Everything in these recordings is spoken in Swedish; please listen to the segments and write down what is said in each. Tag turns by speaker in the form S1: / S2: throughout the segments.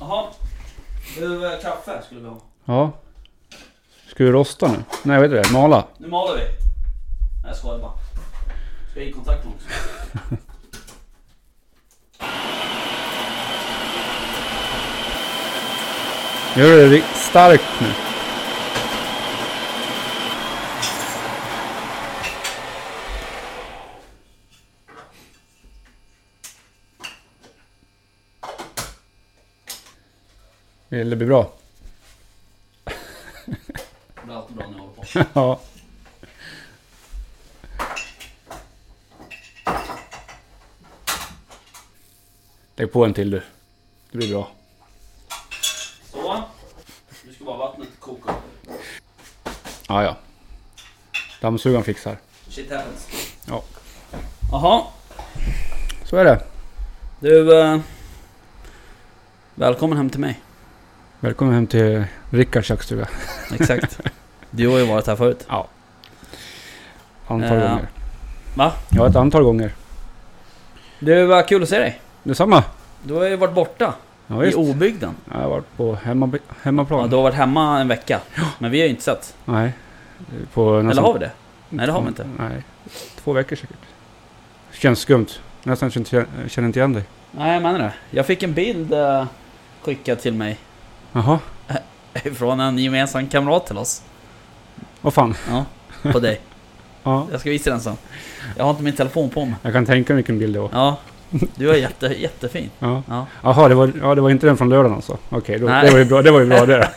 S1: Jaha. Du, eh, kaffe skulle vi ha.
S2: Ja. Ska vi rosta nu? Nej, vad heter det? Mala?
S1: Nu maler vi. Nej, jag skojar bara. Ska jag ge kontakt med honom också?
S2: Gör det ri- starkt nu. Vill det bli bra?
S1: Det blir alltid bra när jag håller på.
S2: ja. Lägg på en till du. Det blir bra.
S1: Så. Nu ska bara vattnet koka.
S2: Ja, ja. Dammsugaren fixar.
S1: Shit happens.
S2: Ja.
S1: Jaha.
S2: Så är det.
S1: Du... Eh, välkommen hem till mig.
S2: Välkommen hem till Rickards köksstuga.
S1: Exakt. Du har ju varit här förut.
S2: Antal
S1: Ja.
S2: gånger.
S1: Eh, Va?
S2: Ja, ett antal gånger.
S1: Du, vad kul att se dig.
S2: Detsamma.
S1: Du har ju varit borta.
S2: Ja,
S1: I
S2: visst.
S1: obygden.
S2: Jag har varit på hemma,
S1: Ja,
S2: hemmaplan.
S1: du har varit hemma en vecka. Men vi har ju inte sett.
S2: Nej. På nästan,
S1: Eller har vi det? Nej, det har vi inte.
S2: Nej. Två veckor säkert. Känns skumt. Nästan känner känner inte igen dig.
S1: Nej, jag menar det. Jag fick en bild eh, skickad till mig
S2: Jaha.
S1: från en gemensam kamrat till oss.
S2: Vad fan.
S1: Ja, på dig.
S2: Ja.
S1: Jag ska visa den sen. Jag har inte min telefon på mig.
S2: Jag kan tänka mig vilken bild det var.
S1: Ja, du är jätte, jättefin.
S2: Ja.
S1: Ja.
S2: Jaha, det var, ja, det var inte den från lördagen alltså. Okej, då
S1: Nej.
S2: det var ju bra det. Var ju bra, det.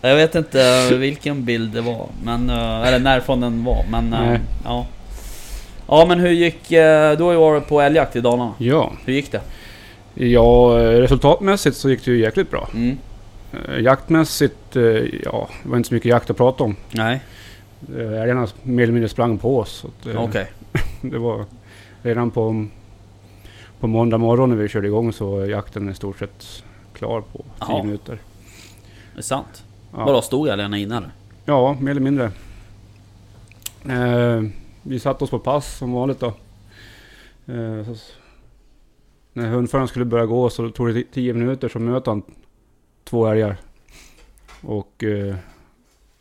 S1: Jag vet inte eh, vilken bild det var, men, eh, eller närifrån den var, men eh,
S2: Nej.
S1: ja. Ja men hur gick, eh, du har ju varit på älgjakt i Dalarna.
S2: ja.
S1: Hur gick det?
S2: Ja, eh, resultatmässigt så gick det ju jäkligt bra.
S1: Mm.
S2: Eh, Jaktmässigt, eh, ja, det var inte så mycket jakt att prata om.
S1: Nej,
S2: Eh, Älgarna mer eller mindre sprang på oss. Så att, eh,
S1: okej.
S2: Det var redan på, på måndag morgon när vi körde igång så var jakten i stort sett klar på
S1: Jaha.
S2: tio minuter.
S1: Det är sant. Vadå,
S2: Ja,
S1: stod älgarna inne eller?
S2: ja mer eller mindre. Eh, vi satte oss på pass som vanligt då. Eh, så, s- när hundföraren skulle börja gå så tog det ti- tio minuter så möter han två älgar. Och eh,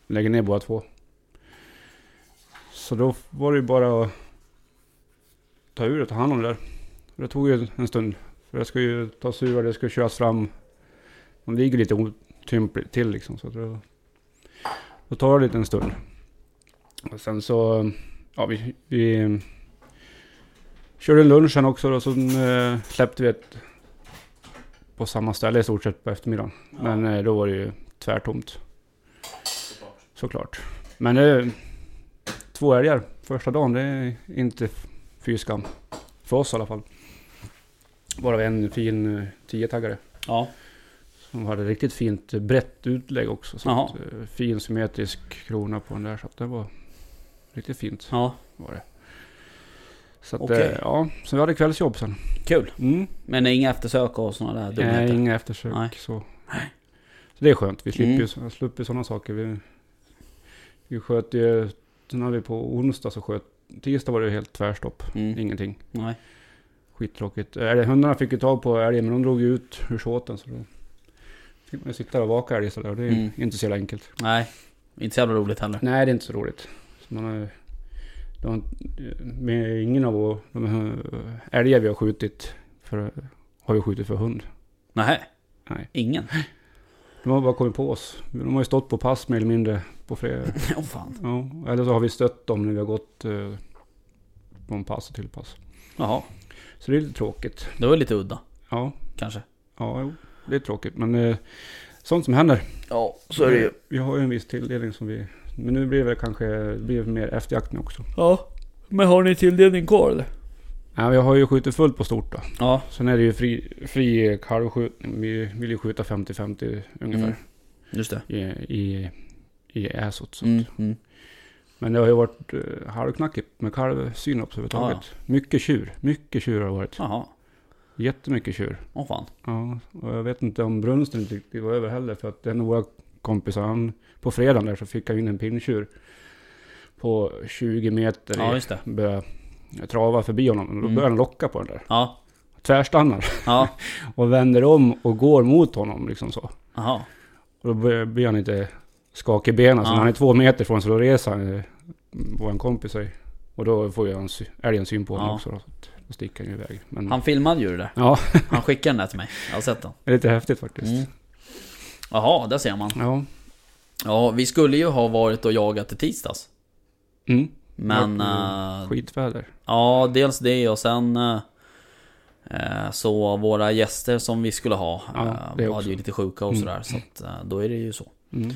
S2: lägger ner båda två. Så då var det ju bara att ta ur och ta hand om det där. Det tog ju en stund. För det ska ju tas ur och det ska köras fram. De ligger lite otympligt till liksom. Så att då, då tar det lite en stund. Och sen så, ja vi, vi körde lunch sen också och sen eh, släppte vi ett på samma ställe i stort sett på eftermiddagen. Men eh, då var det ju tvärtomt. Såklart. Men eh, två älgar första dagen, det är inte f- fy skam. För oss i alla fall. Bara en fin eh, tiotaggare.
S1: Ja,
S2: Som hade riktigt fint eh, brett utlägg också. Så
S1: Jaha.
S2: att, eh, fin symmetrisk krona på den där. Så att det var riktigt fint.
S1: ja,
S2: Var det. Så att,
S1: Okej.
S2: eh, ja, så vi hade kvällsjobb sen.
S1: kul.
S2: Mm.
S1: Men inga eftersök och sådana där
S2: Nej,
S1: dumheter?
S2: inga eftersök.
S1: Nej.
S2: Så. så det är skönt. Vi slipper
S1: Mm.
S2: ju så- slipper sådana saker. Vi, vi sköt ju... Sen hade vi på onsdag så sköt... Tisdag var det ju helt tvärstopp.
S1: Mm.
S2: Ingenting.
S1: Nej.
S2: Skittråkigt. Älg- Hundarna fick ju tag på älgen men de drog ju ut ur såten. Så då fick man ju sitta där och vaka älg sådär. och Det är ju
S1: Mm.
S2: inte så jävla enkelt.
S1: Nej, inte så jävla roligt heller.
S2: Nej, det är inte så roligt. Så man har, det har, med ingen av vår- de här älgar vi har skjutit för, har ju skjutit för hund.
S1: Nej.
S2: Nej.
S1: Ingen?
S2: De har bara kommit på oss. De har ju stått på pass mer eller mindre på fredag.
S1: Åh fan.
S2: Ja, eller så har vi stött dem när vi har gått eh, från pass till pass.
S1: Jaha,
S2: Så det är lite tråkigt.
S1: det var lite udda
S2: Ja,
S1: kanske.
S2: ja jo, det är tråkigt. Men eh, sånt som händer.
S1: Ja,
S2: Vi har ju en viss tilldelning som vi... Men nu blir det väl kanske det blir mer efterjakt nu också.
S1: Ja. Men har ni tilldelning kvar eller?
S2: Ja, jag har ju skjutit fullt på stort då.
S1: Ja.
S2: Sen är det ju fri, fri kalvskjutning. Vi vill ju skjuta 50-50 ungefär
S1: Just det.
S2: i, i, i äsot. Så.
S1: Mm. Mm.
S2: Men det har ju varit eh, halvknackigt med kalvsynops överhuvudtaget. Mycket tjur. Mycket tjur har det varit.
S1: Jaha.
S2: Jättemycket tjur.
S1: Åh fan.
S2: Ja, och jag vet inte om brunsten inte riktigt var över heller. För att en av våra kompisar, han, på fredagen där så fick han in en pinntjur. På 20 meter
S1: Ja,
S2: i,
S1: just det.
S2: började trava förbi honom. Då
S1: Mm.
S2: började han locka på den där.
S1: Ja.
S2: tvärstannar
S1: Ja,
S2: och vänder om och går mot honom liksom så.
S1: aha.
S2: Och då blir blir han inte skakig i benen. Så
S1: Ja.
S2: när han är två meter från så då reser han, eh, vår kompis sig. Och då får ju han sy- älgen syn på honom
S1: Ja.
S2: också då. Så att Då sticker han ju iväg. Men
S1: Han filmade ju det där.
S2: ja,
S1: Han skickade den där till mig. Jag har sett den.
S2: det är lite häftigt faktiskt.
S1: Mm. Jaha, där ser man.
S2: Ja.
S1: Ja, vi skulle ju ha varit och jagat i tisdags.
S2: Mm.
S1: Men...
S2: Ja,
S1: eh,
S2: Skitväder.
S1: Ja, dels det och sen eh, eh, så våra gäster som vi skulle ha
S2: Ja, det
S1: eh, var
S2: också.
S1: ju lite sjuka och
S2: Mm.
S1: sådär. Så att, eh, då är det ju så.
S2: Mm.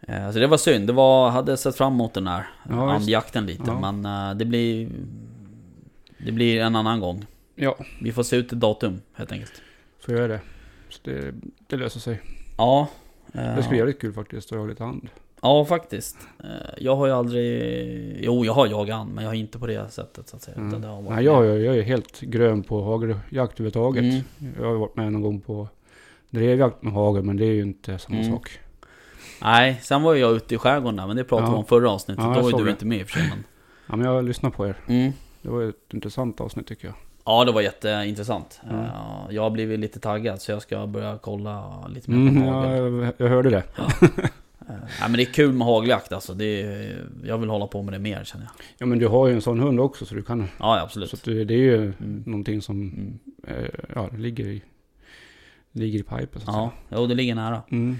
S1: Eh, Så det var synd. Det var, hade sett fram emot den här
S2: Ja,
S1: ja,
S2: visst.
S1: andjakten lite.
S2: Ja.
S1: Men eh, det blir... Det blir en annan gång.
S2: Ja,
S1: Vi får se ut ett datum helt enkelt.
S2: så gör det. Så det, det löser sig.
S1: Ja. eh,
S2: Det skulle vara jävligt kul faktiskt att jaga lite hand.
S1: Ja, faktiskt. Eh, Jag har ju aldrig... Jo, jag har jagat an, men jag har inte på det sättet så att säga.
S2: Mm.
S1: Utan det har varit
S2: Nej, jag, jag, jag är helt grön på hageljakt överhuvudtaget.
S1: Mm.
S2: Jag har ju varit med någon gång på drevjakt med hagel, men det är ju inte samma
S1: Mm.
S2: sak.
S1: Nej, sen var ju jag ute i skärgården där, men det pratade vi
S2: Ja.
S1: om förra avsnittet.
S2: Ja, jag
S1: Då var ju
S2: såg
S1: du
S2: det.
S1: inte med i och för sig. Men...
S2: Ja, men jag lyssnar på er.
S1: Mm.
S2: Det var ett intressant avsnitt tycker jag.
S1: Ja, det var jätteintressant.
S2: Mm.
S1: Eh, Jag har blivit lite taggad så jag ska börja kolla lite mer på
S2: Mm,
S1: hagel.
S2: ja, jag, jag hörde det.
S1: Eh, Nej, men det är kul med hageljakt alltså. Det är, jag vill hålla på med det mer känner jag.
S2: Ja, men du har ju en sån hund också så du kan...
S1: Ja, ja, absolut.
S2: Så att det, det är ju
S1: Mm.
S2: någonting som
S1: Mm.
S2: eh, ja, ligger, i, ligger i pipen så att
S1: Ja, jo, det ligger nära.
S2: säga. Mm.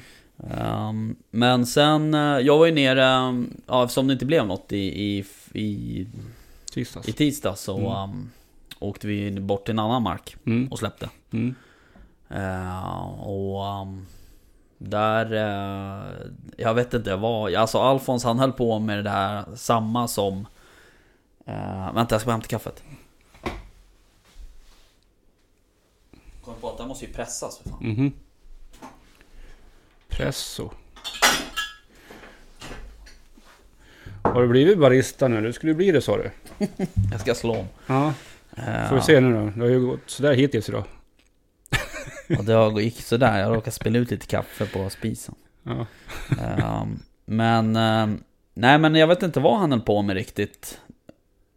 S1: Ehm, men sen, eh, jag var ju nere, ehm, ja, eftersom det inte blev något i, i, i,
S2: Tisdags.
S1: i tisdags så
S2: Mm.
S1: ehm, åkte vi bort till en annan mark
S2: Mm.
S1: och släppte.
S2: Mm.
S1: Eh, och ehm, där, eh, jag vet inte vad, alltså Alfons han höll på med det där samma som... eh, vänta jag ska bara hämta kaffet. Kom på att den måste ju pressas för fan.
S2: Mhm. Presso. Har du blivit barista nu? Du skulle bli det sa du.
S1: Jag ska slå om.
S2: Ja,
S1: Eh,
S2: får vi se nu då. Det har ju gått sådär hittills idag.
S1: Och det har- gick sådär, jag råkade spilla ut lite kaffe på spisen.
S2: Ja.
S1: Ehm, men, ehm, nej men jag vet inte vad han höll på med riktigt.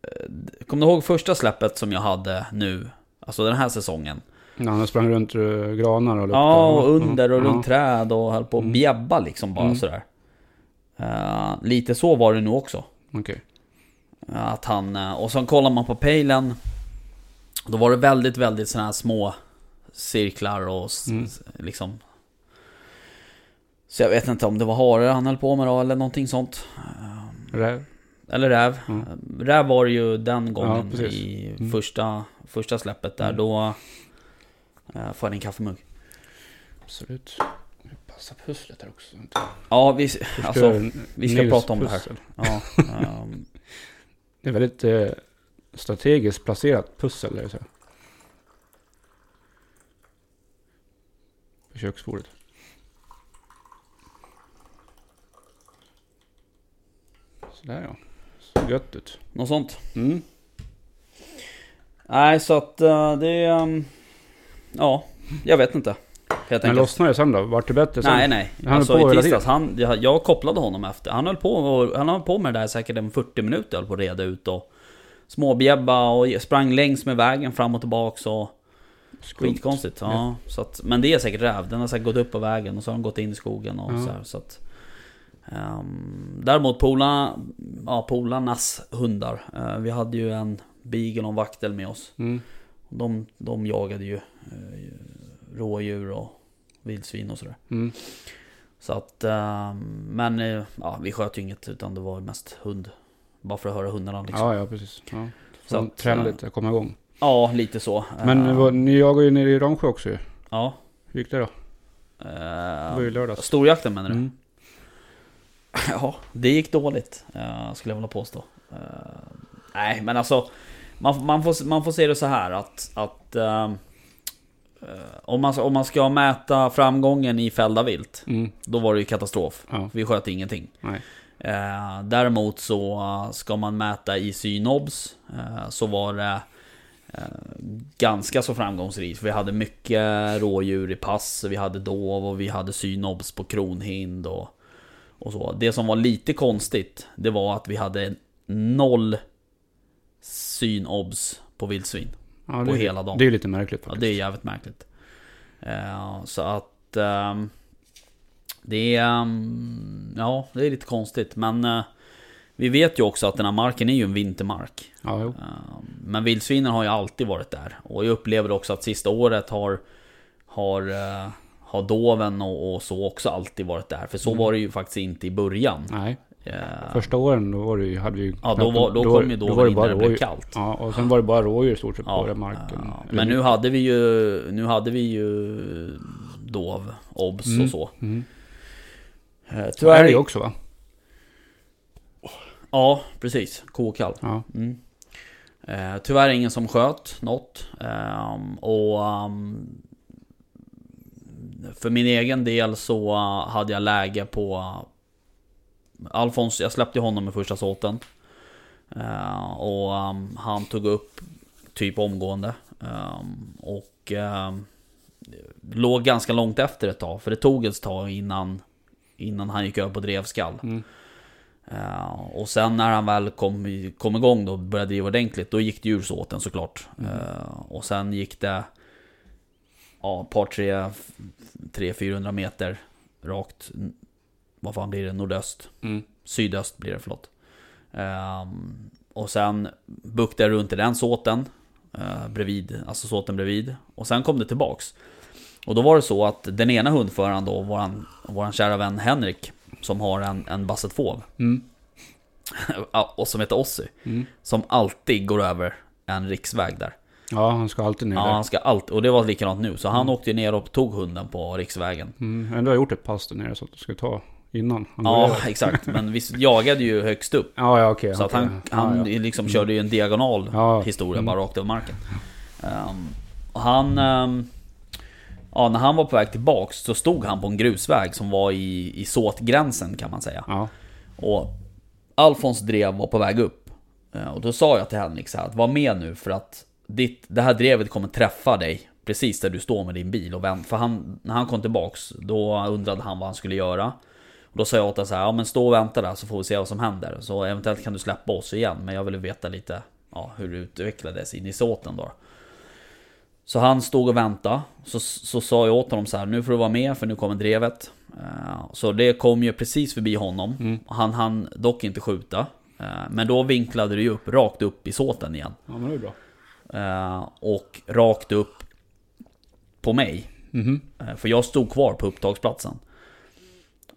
S1: Eh, Kommer du ihåg första släppet som jag hade nu? Alltså den här säsongen.
S2: När han sprang runt eh, granar och
S1: Ja, och under och runt
S2: ja.
S1: träd och höll på att
S2: Mm.
S1: bjäbba liksom bara
S2: Mm.
S1: sådär. Eh, lite så var det nog också.
S2: Okej.
S1: Att han, eh, och sen kollar man på pejlen Då var det väldigt, väldigt sådana här små cirklar och s-
S2: Mm.
S1: s- liksom Så jag vet inte om det var hare han höll på med då eller någonting sånt Eh,
S2: Räv.
S1: Eller räv Eh,
S2: Mm.
S1: Räv var det ju den
S2: Ja,
S1: gången
S2: precis.
S1: i
S2: Mm.
S1: första, första släppet där
S2: Mm.
S1: då eh, Får jag en kaffemugg?
S2: Absolut. Passa pusslet här också.
S1: Ja, vi, alltså, vi ska
S2: Nils
S1: prata om det här.
S2: pussel.
S1: ja, ehm,
S2: Det är väldigt eh, strategiskt placerat pussel. Där, så. här. På köksbordet. Sådär ja. Ser gött ut.
S1: något sånt
S2: Mm.
S1: Nej, så att eh, det... ehm, Ja, jag vet inte. Helt
S2: Men
S1: enkelt.
S2: lossnade det sen då? Vart det bättre sen?
S1: Nej, nej.
S2: Han höll på
S1: Alltså i
S2: hela
S1: tisdags, han, jag, jag kopplade honom efter. Han höll, på, och, han höll på med det där säkert en 40 minuter, höll på att reda ut och småbjäbba och sprang längs med vägen fram och tillbaks och
S2: Skumt.
S1: skitkonstigt. Ja, så att, men det är säkert räv, den har säkert gått upp på vägen och så har den gått in i skogen och
S2: Ja.
S1: så här, så att, ehm, Däremot polarna, ja, polarnas hundar. Eh, vi hade ju en beagle och en vaktel med oss.
S2: Mm.
S1: De, de jagade ju eh, rådjur och vildsvin och sådär.
S2: Mm.
S1: Så att, eh, men eh, ja, vi sköt ju inget utan det var ju mest hund. Bara för att höra hundarna liksom. Ja,
S2: Ja, ja precis. Ja.
S1: Så
S2: Så
S1: att,
S2: träna
S1: eh,
S2: lite, komma igång.
S1: lite så.
S2: Men
S1: Eh,
S2: uh, ni jagar ju nere i Ramsjö också ju.
S1: Ja.
S2: Hur gick det då? Det var ju
S1: Uh,
S2: lördags.
S1: storjakten menar du?
S2: Mm.
S1: Ja, det gick dåligt eh, skulle jag vilja påstå. Eh, nej, men alltså man, man, får, man får se det så här att, att eh, eh, om, man, om man ska mäta framgången i fällda vilt,
S2: Mm.
S1: då var det ju katastrof.
S2: Ja.
S1: Vi sköt ingenting.
S2: Nej.
S1: Eh, däremot så eh, ska man mäta i synobs eh, så var det eh, ganska så framgångsrikt. För vi hade mycket rådjur i pass, vi hade dov och vi hade synobs på kronhind och, och så. Det som var lite konstigt, det var att vi hade noll synobs på vildsvin.
S2: Ja, det,
S1: på
S2: är-
S1: hela dagen.
S2: Det är lite märkligt
S1: Ja,
S2: faktiskt.
S1: det är jävligt märkligt. Eh, så att... ehm, det är... ehm, ja, det är lite konstigt. Men eh, vi vet ju också att den här marken är ju en vintermark.
S2: Ja, jo.
S1: Eh, men vildsvinen har ju alltid varit där. Och jag upplever också att sista året har... Har, eh, har doven och, och så också alltid varit där. För så var det ju faktiskt inte i början.
S2: Nej,
S1: Eh,
S2: första åren då var det ju, hade vi ju...
S1: Ja, då, var, då, kom ju doven in när det blev kallt.
S2: Ja, och sen var det bara rådjur i stort sett på
S1: Ja,
S2: den marken.
S1: ja. Men nu hade vi ju, nu hade vi ju Dov, Obs och så.
S2: Mm.
S1: Eh,
S2: Så är det
S1: i-
S2: ju också va?
S1: Ja, precis. Kokall.
S2: Ja.
S1: Mm. Eh, tyvärr ingen som sköt något. Ehm, och ehm, för min egen del så eh, hade jag läge på Alfons, jag släppte honom i första såten. Eh, och ehm, han tog upp typ omgående. Ehm, och ehm, låg ganska långt efter ett tag. För det tog ett tag innan, innan han gick över på drevskall.
S2: Mm.
S1: Eh, och sen när han väl kom, i- kom igång då och började driva ordentligt, då gick det ur så åt den såklart. Eh, och sen gick det ja, ett par tre, f- tre 400 meter rakt, n- vad fan blir det, nordöst?
S2: Mm.
S1: Sydöst blir det, förlåt. Ehm, och sen buktade jag runt i den såten, eh, bredvid, alltså såten bredvid. Och sen kom det tillbaks. Och då var det så att den ena hundföraren då, våran, våran kära vän Henrik, som har en, en bassetfåv,
S2: Mm.
S1: och som heter Ossi.
S2: Mm.
S1: Som alltid går över en riksväg där.
S2: Ja, han ska alltid ner
S1: Ja,
S2: där.
S1: han ska allt, och det var likadant nu. Så han åkte ju ner och tog hunden på riksvägen.
S2: Mm. Ändå har jag gjort ett pass där nere så att du ska ta innan han går
S1: Ja,
S2: över.
S1: exakt. Men vi jagade ju högst upp.
S2: Ja, ja okej.
S1: Så att
S2: okej.
S1: han, han
S2: ja, ja.
S1: liksom körde ju en diagonal
S2: Ja. Mm.
S1: historia bara rakt över marken. Ehm, och han... ehm, ja, när han var på väg tillbaks så stod han på en grusväg som var i, i såtgränsen kan man säga.
S2: Ja.
S1: Och Alfons drev var på väg upp. Eh, Och då sa jag till Henrik så här att var med nu för att ditt, det här drevet kommer träffa dig precis där du står med din bil och vänd. För han, när han kom tillbaks då undrade han vad han skulle göra. Och då sa jag åt honom så här, ja men stå och vänta där så får vi se vad som händer. Så eventuellt kan du släppa oss igen men jag ville veta lite ja, hur det utvecklades in i såten då. Så han stod och väntade. Så, så sa jag åt honom så här, nu får du vara med för nu kommer drevet. Eh, Så det kom ju precis förbi honom. Han hann dock inte skjuta. Eh, Men då vinklade det ju upp, rakt upp i såten igen.
S2: ja, men det är bra.
S1: Eh, Och rakt upp på mig.
S2: Mhm.
S1: Eh, För jag stod kvar på upptagsplatsen.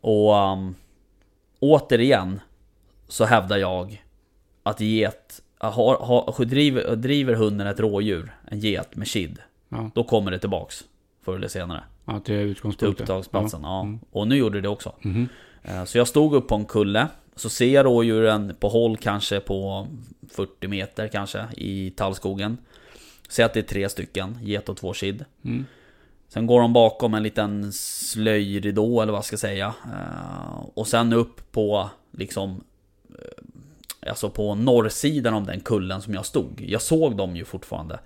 S1: Och ehm, återigen så hävdar jag att get, har, har, driver, driver hunden ett rådjur, en get med kid,
S2: Ja.
S1: då kommer det tillbaks förr eller senare.
S2: ja, till
S1: Till
S2: utgångspunkten.
S1: upptagsplatsen. Ja. Och nu gjorde det också. Eh, Så jag stod upp på en kulle. Så ser jag rådjuren på håll kanske på 40 meter kanske i tallskogen. Ser att det är tre stycken, get och två kid.
S2: Mm.
S1: Sen går de bakom en liten slöjridå eller vad jag ska säga. Eh, Och sen upp på liksom eh, Alltså på norrsidan om den kullen som jag stod. Jag såg dem ju fortfarande.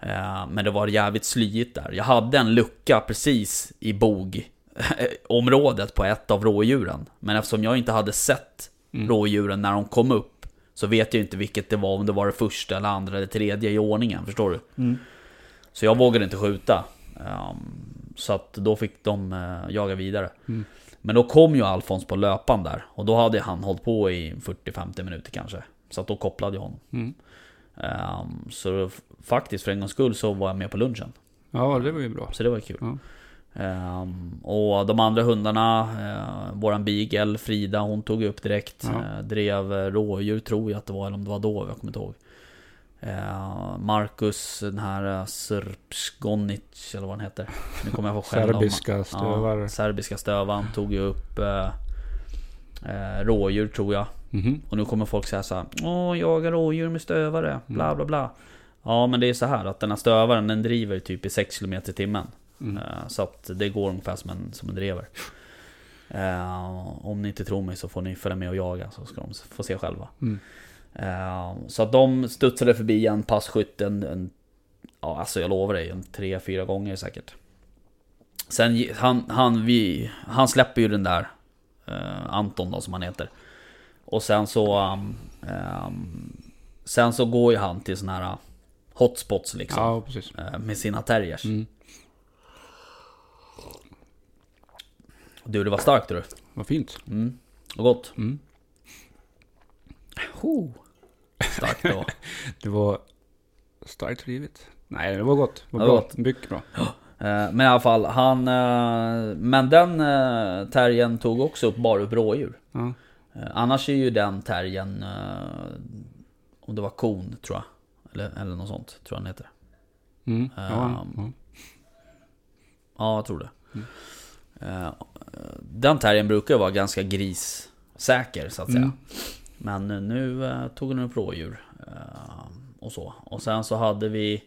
S1: Eh, Men det var jävligt slyigt där. Jag hade en lucka precis i bogområdet på ett av rådjuren. Men eftersom jag inte hade sett rådjuren när de kom upp så vet jag inte vilket det var, om det var det första eller andra eller tredje i ordningen. Förstår du? Så jag vågade inte skjuta. Ehm, Så att då fick de eh, jaga vidare. Men då kom ju Alfons på löpan där. Och då hade han hållit på i 40-50 minuter kanske. Så att då kopplade jag honom.
S2: Mm.
S1: Ehm, så f- faktiskt för en gångs skull så var jag med på lunchen.
S2: Ja, det var ju bra.
S1: Så det var kul.
S2: Ja.
S1: Ehm, och de andra hundarna, eh, våran beagle Frida, hon tog upp direkt.
S2: Ja.
S1: Eh, drev eh, rådjur tror jag att det var, eller om det var då, jag kommer inte ihåg. Eh, Marcus, den här eh, Srpsgonic, eller vad han heter. Nu kommer jag få skäll om-
S2: Serbiska stövar.
S1: Ja, serbiska stövan tog ju upp eh, eh, rådjur tror jag.
S2: Mhm.
S1: Och nu kommer folk säga så här. Åh, jaga rådjur med stövare. Bla bla bla. Ja men det är så här att den här stövaren den driver typ i 6 km i timmen. Eh, Så att det går ungefär som en, som en drever. Eh, om ni inte tror mig så får ni följa med och jaga så ska de s- få se själva.
S2: Mm.
S1: Eh, så att de studsade förbi en passkytt en, en, ja alltså jag lovar dig, en tre, fyra gånger säkert. Sen ge- han, han, vi, han släpper ju den där eh, Anton då som han heter. um, Och sen så... ehm, ehm, sen så går ju han till sån här hotspots liksom.
S2: Ja, precis.
S1: eh, Med sina terriers.
S2: Mm.
S1: Du, det var starkt du.
S2: Vad fint.
S1: Mm. Och gott.
S2: Mm.
S1: Ho. Starkt då.
S2: Det var starkt rivet. Nej, det var gott. Det
S1: Ja,
S2: var
S1: det
S2: bra.
S1: var gott.
S2: Mycket bra.
S1: Eh, Men i alla fall, han... eh, Men den eh, terriern tog också upp bara upp rådjur.
S2: Ja.
S1: Eh, Annars är ju den terriern... eh, Om det var kon, tror jag. Eller, eller något sånt, tror jag den heter.
S2: Mm. Ja,
S1: Ehm,
S2: ja.
S1: Ja, jag tror det. Eh, Den terriern brukar ju vara ganska grissäker, så att säga.
S2: Mm.
S1: Men eh, nu eh, tog den upp rådjur. eh, Och så. Och sen så hade vi...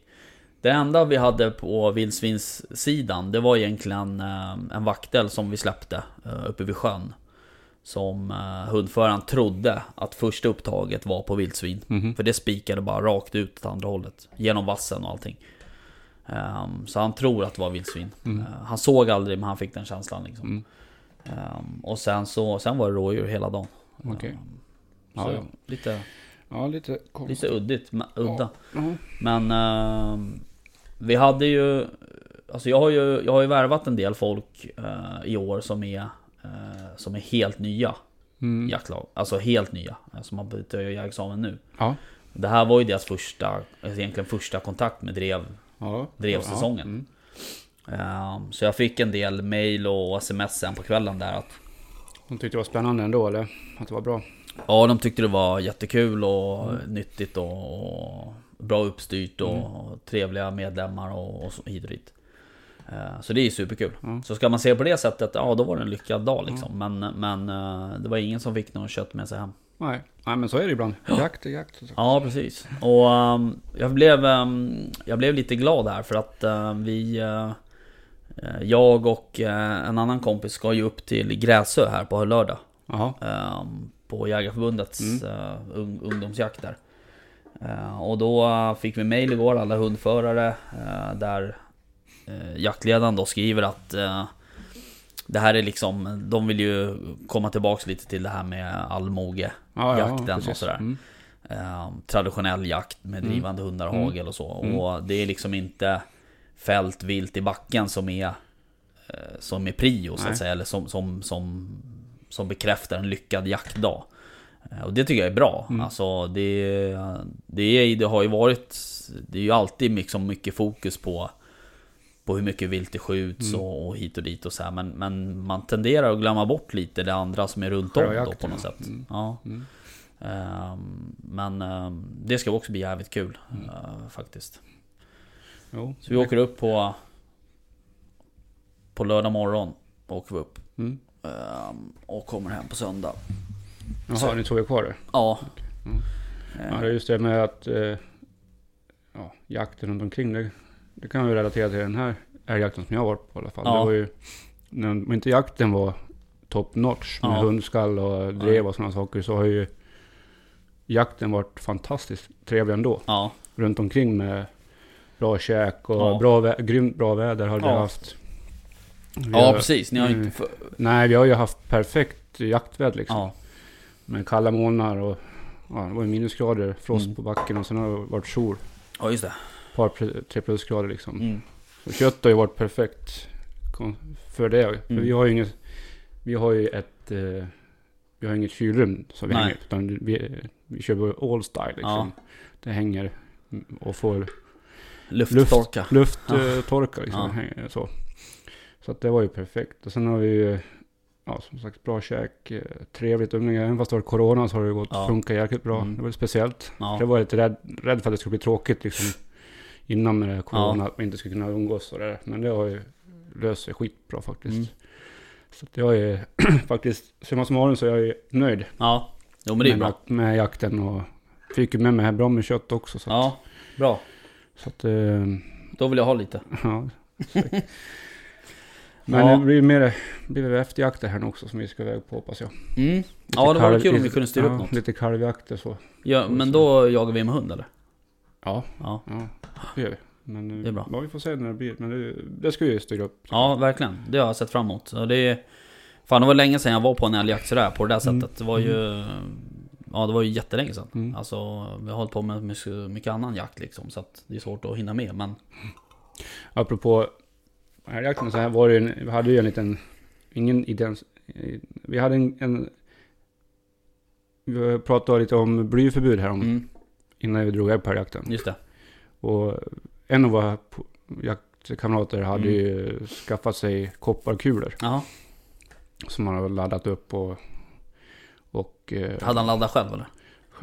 S1: Det enda vi hade på vildsvinssidan, det var egentligen eh, en vaktel som vi släppte eh, uppe vid sjön. Som eh, hundföraren trodde att första upptaget var på vildsvin.
S2: Mhm.
S1: Mm. För det spikade bara rakt ut åt andra hållet. Genom vassen och allting. Ehm, så han tror att det var vildsvin. Eh, han såg aldrig men han fick den känslan liksom.
S2: Mm.
S1: Ehm, och sen så, sen var det rådjur hela dagen.
S2: Okej.
S1: Så
S2: Ja, ja.
S1: Lite,
S2: ja, lite
S1: lite
S2: konstigt.
S1: uddigt, men- udda.
S2: Ja.
S1: Men ehm, vi hade ju... Alltså jag har ju, jag har ju värvat en del folk eh, i år som är, eh, som är helt nya
S2: Mm.
S1: jaktlag. Alltså helt nya. eh, Som har bytt och gör examen nu.
S2: Ja.
S1: Det här var ju deras första, alltså egentligen första kontakt med drev.
S2: ja.
S1: Drev
S2: ja.
S1: säsongen.
S2: Mm.
S1: Ehm, så jag fick en del mail och sms sen på kvällen där att
S2: Hon tyckte det var spännande ändå, eller? Att det var bra.
S1: Ja, de tyckte det var jättekul och nyttigt och, och bra uppstyrt och trevliga medlemmar och, och så hit och dit. Eh, Så det är superkul.
S2: Mm.
S1: Så ska man se på det sättet, ja då var det en lyckad dag liksom. Men, men eh, det var ingen som fick någon kött med sig hem.
S2: Nej. Nej, men så är det ibland. Jakt är jakt. så-
S1: Ja, precis. Och ehm, jag, blev, ehm, jag blev lite glad här för att eh, vi... eh, jag och eh, en annan kompis ska ju upp till Gräsö här på lördag.
S2: Jaha.
S1: Ehm, på Jägarförbundets eh, ung, ungdomsjakt där. Eh, och då eh, fick vi mail igår, alla hundförare, eh, där uh, jaktledaren då skriver att eh, det här är liksom, de vill ju komma tillbaks lite till det här med allmoge.
S2: Ja,
S1: Jakten och
S2: precis.
S1: sådär.
S2: Mm.
S1: eh, traditionell jakt med drivande hundar och hagel och så.
S2: Mm.
S1: Och det är liksom inte fält vilt i backen som är, eh, som är prio så
S2: Nej.
S1: att säga. Eller som, som, som, som bekräftar en lyckad jaktdag. Eh, Och det tycker jag är bra.
S2: Mm.
S1: Alltså det, det, är, det har ju varit, det är ju alltid liksom mycket fokus på på hur mycket vilt det skjuts
S2: Mm.
S1: och, och hit och dit och så här. Men, men man tenderar att glömma bort lite det andra som är runt om då på
S2: Sjöjakten,
S1: något
S2: ja. Mm.
S1: sätt. Ja. Ehm, men ehm, det ska också bli jävligt kul
S2: Mm.
S1: eh, faktiskt.
S2: Jo.
S1: Så vi åker upp på på lördag morgon åker vi upp
S2: Mm.
S1: Ehm, och kommer hem på söndag.
S2: Jaha, ni två är kvar där. Mm.
S1: Ja,
S2: Ja, det är just det med att eh, ja, jakten runt omkring. Det, det kan vi relatera till den här älgjakten som jag har varit på i alla fall.
S1: Ja.
S2: Det var ju, när, om inte jakten var top notch med
S1: Ja.
S2: hundskall och drev och sådana saker så har ju jakten varit fantastiskt trevlig ändå.
S1: ja,
S2: Runt omkring med bra käk och
S1: Ja.
S2: bra vä- grymt bra väder har vi
S1: Ja.
S2: haft. Vi
S1: ja
S2: har-
S1: precis. Ni har ju
S2: Mm.
S1: inte för...
S2: Nej, vi har ju haft perfekt jaktväder liksom.
S1: Ja,
S2: Med kalla månader och ja, det var ju minusgrader, frost
S1: Mm.
S2: på backen och sen har det varit sol.
S1: ja just det.
S2: par, pl- tre plusgrader liksom.
S1: Mm.
S2: Så kött har ju varit perfekt kon- för det. För
S1: Mm.
S2: vi har ju inget, vi har ju ett, eh, vi har inget kylrum som vi
S1: Nej.
S2: hänger utan vi, vi kör bara all style liksom. Det hänger mm, och får
S1: Lufttorka.
S2: lufttorka eh, torka, liksom.
S1: Ja.
S2: Hänger, så. så att det var ju perfekt. Och sen har vi ju, ja som sagt bra käk, eh, trevligt umgänge. Även fast det var corona så har det gått,
S1: Ja.
S2: funkat jäkligt bra.
S1: Mm.
S2: Det var speciellt. Jag
S1: Ja,
S2: var lite rädd, rädd för att det skulle bli tråkigt liksom, innan med det här corona, att man inte skulle kunna umgås och det där. Men det har ju löst sig skitbra faktiskt.
S1: Mm.
S2: Så att jag är faktiskt, summa summarum så är jag ju nöjd
S1: ja. Jo men det är
S2: med,
S1: ju bra.
S2: jak- med jakten och fick ju med mig här bra med kött också. Så,
S1: Ja, bra.
S2: så att, eh,
S1: Då vill jag ha lite.
S2: ja. säkert. Men
S1: Ja.
S2: det blir mer, blir väl efterjakter här nu också som vi ska iväg på hoppas jag.
S1: Mm. Ja, det
S2: Lite
S1: vore
S2: kalv-
S1: kul om vi kunde styra
S2: ja,
S1: upp något.
S2: Lite kalvjakter så.
S1: Ja, men då jagar vi med hund eller?
S2: Ja.
S1: Ja,
S2: Ja, det gör vi. Men eh,
S1: Det är bra.
S2: Ja, vi får se när det blir. Men det, det ska vi ju styra upp.
S1: ja verkligen. Det har jag sett fram emot. Och det är... Fan, det var länge sedan jag var på en älgjakt sådär, på det där sättet. Det var ju... ja, det var ju jättelänge sedan.
S2: Mm.
S1: Alltså, vi har hållit på med mycket, mycket annan jakt liksom, så att det är svårt att hinna med. Men
S2: Apropå älgjakten så här var det ju, en- vi hade ju en liten, ingen idens, eh, vi hade en, en vi pratade lite om blyförbud här om,
S1: mm,
S2: innan vi drog iväg på älgjakten.
S1: just det.
S2: Och en av våra po- jaktkamrater hade
S1: Mm.
S2: ju skaffat sig kopparkulor
S1: Jaha.
S2: som han hade laddat upp och... och eh,
S1: Hade han laddat själv eller?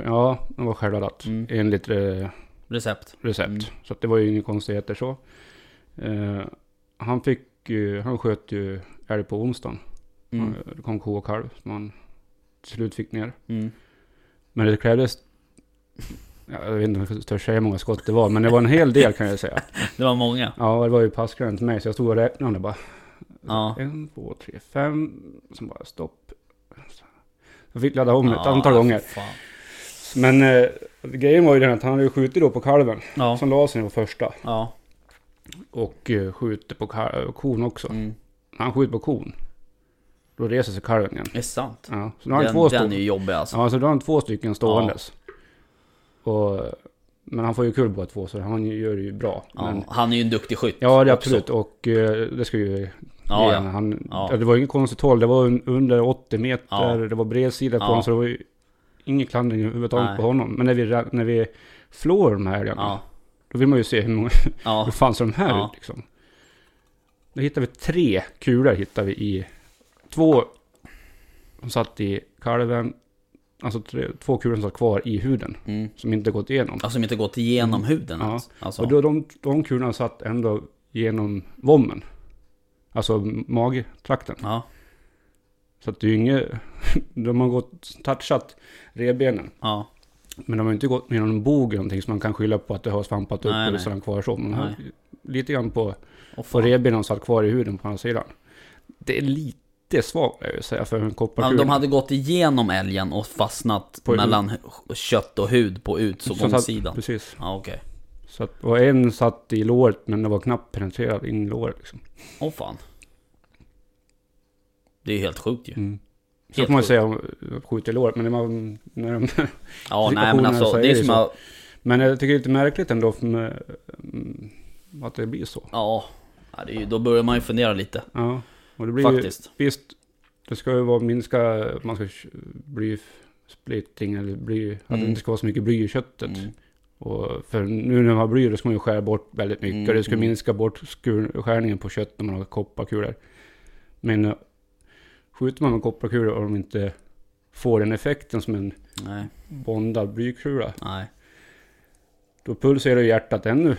S2: ja, de var självladdat
S1: Mm.
S2: enligt eh,
S1: Recept?
S2: recept.
S1: Mm.
S2: Så att det var ju inga konstigheter så. Eh, han fick ju, han sköt ju älg på onsdagen.
S1: Mm.
S2: Eh, Det kom ko och kalv som han till slut fick ner.
S1: Mm.
S2: Men det krävdes, ja, jag vet inte om jag törs säga hur många skott det var, men det var en hel del kan jag säga.
S1: Det var många.
S2: Ja, det var ju passgräns till mig så jag stod och räknade bara.
S1: Ja.
S2: En, två, tre, fem. Sen bara stopp. Jag fick ladda om ett
S1: Ja,
S2: antal gånger.
S1: för Fan.
S2: Men eh, grejen var ju den att han hade ju skjutit då på kalven.
S1: Ja,
S2: Som la sig på första.
S1: ja.
S2: Och eh, skjuter på kal- kon också.
S1: Mm.
S2: När han skjuter på kon. Då reser sig kalven igen.
S1: Det är sant.
S2: Ja, så då har han två
S1: Den, den är
S2: stycken.
S1: ju jobbig alltså.
S2: Ja, så då har han två stycken ståendes. Och, eh, men han får ju kul båda två så han gör det ju bra.
S1: Ja,
S2: Men,
S1: han är ju en duktig skytt.
S2: ja, det är
S1: också.
S2: absolut. Och eh, det ska ju
S1: Ja,
S2: igen.
S1: ja.
S2: Han,
S1: Ja.
S2: ja, Det var ju inget konstigt håll. Det var un- under 80 meter.
S1: Ja.
S2: Det var bredsida på
S1: Ja.
S2: honom. Så det var ju inget klandring
S1: Nej.
S2: överhuvudtaget på honom. Men när vi, ra- när vi flår de här älgarna.
S1: Ja,
S2: Då vill man ju se hur, många, hur
S1: ja,
S2: fan ser de här
S1: Ja.
S2: ut liksom. Då hittade vi tre kulor hittar vi i. Två som satt i kalven. Alltså tre, två kulor som satt kvar i huden.
S1: mm.
S2: Som inte gått igenom.
S1: Alltså som inte gått igenom huden
S2: Mm. Ja.
S1: ens. Alltså.
S2: Och då, de, de kulorna satt ändå genom vommen. Alltså magtrakten.
S1: Ja,
S2: Så att det är ju inget... De har gått, touchat revbenen.
S1: ja,
S2: Men de har ju inte gått med någon bog eller någonting som man kan skylla på att det har svampat upp
S1: Nej,
S2: eller
S1: nej.
S2: sådant kvar så. Men här, lite grann på,
S1: och
S2: på
S1: fan.
S2: revbenen satt kvar i huden på andra sidan. Det är lite svagt jag vill säga för en
S1: Ja,
S2: kopparkula.
S1: de hade gått igenom älgen och fastnat
S2: På-
S1: mellan hu- kött och hud på
S2: satt,
S1: utsågångssidan.
S2: Precis.
S1: Ja, okej.
S2: Så att, och en satt i låret men den var knappt penetrerad in i låret. Liksom.
S1: Åh fan. Det är ju helt sjukt ju.
S2: Mm. Så
S1: Helt
S2: kan man ju
S1: sjukt.
S2: säga om att skjuta i låret. Men, när man, när de,
S1: Ja, nej men alltså,
S2: så är
S1: det är
S2: det
S1: som
S2: så.
S1: att...
S2: men jag tycker det är lite märkligt ändå för, med, mm, att det blir så.
S1: Ja, ja, det är ju, då börjar man ju fundera lite.
S2: Ja. Och det blir ju-
S1: Faktiskt.
S2: Visst, det ska ju vara minska, att man ska sh- bli splitting eller bly, att
S1: Mm.
S2: det inte ska vara så mycket bly i köttet.
S1: Mm.
S2: Och för nu när man har bly, då ska man ju skära bort väldigt mycket.
S1: Mm,
S2: Och det ska
S1: mm.
S2: minska bort skur, skärningen på kött när man har kopparkulor. Men eh, skjuter man med kopparkulor och de inte får den effekten som en
S1: Nej,
S2: bondad blykula,
S1: nej.
S2: då pulserar ju hjärtat ännu,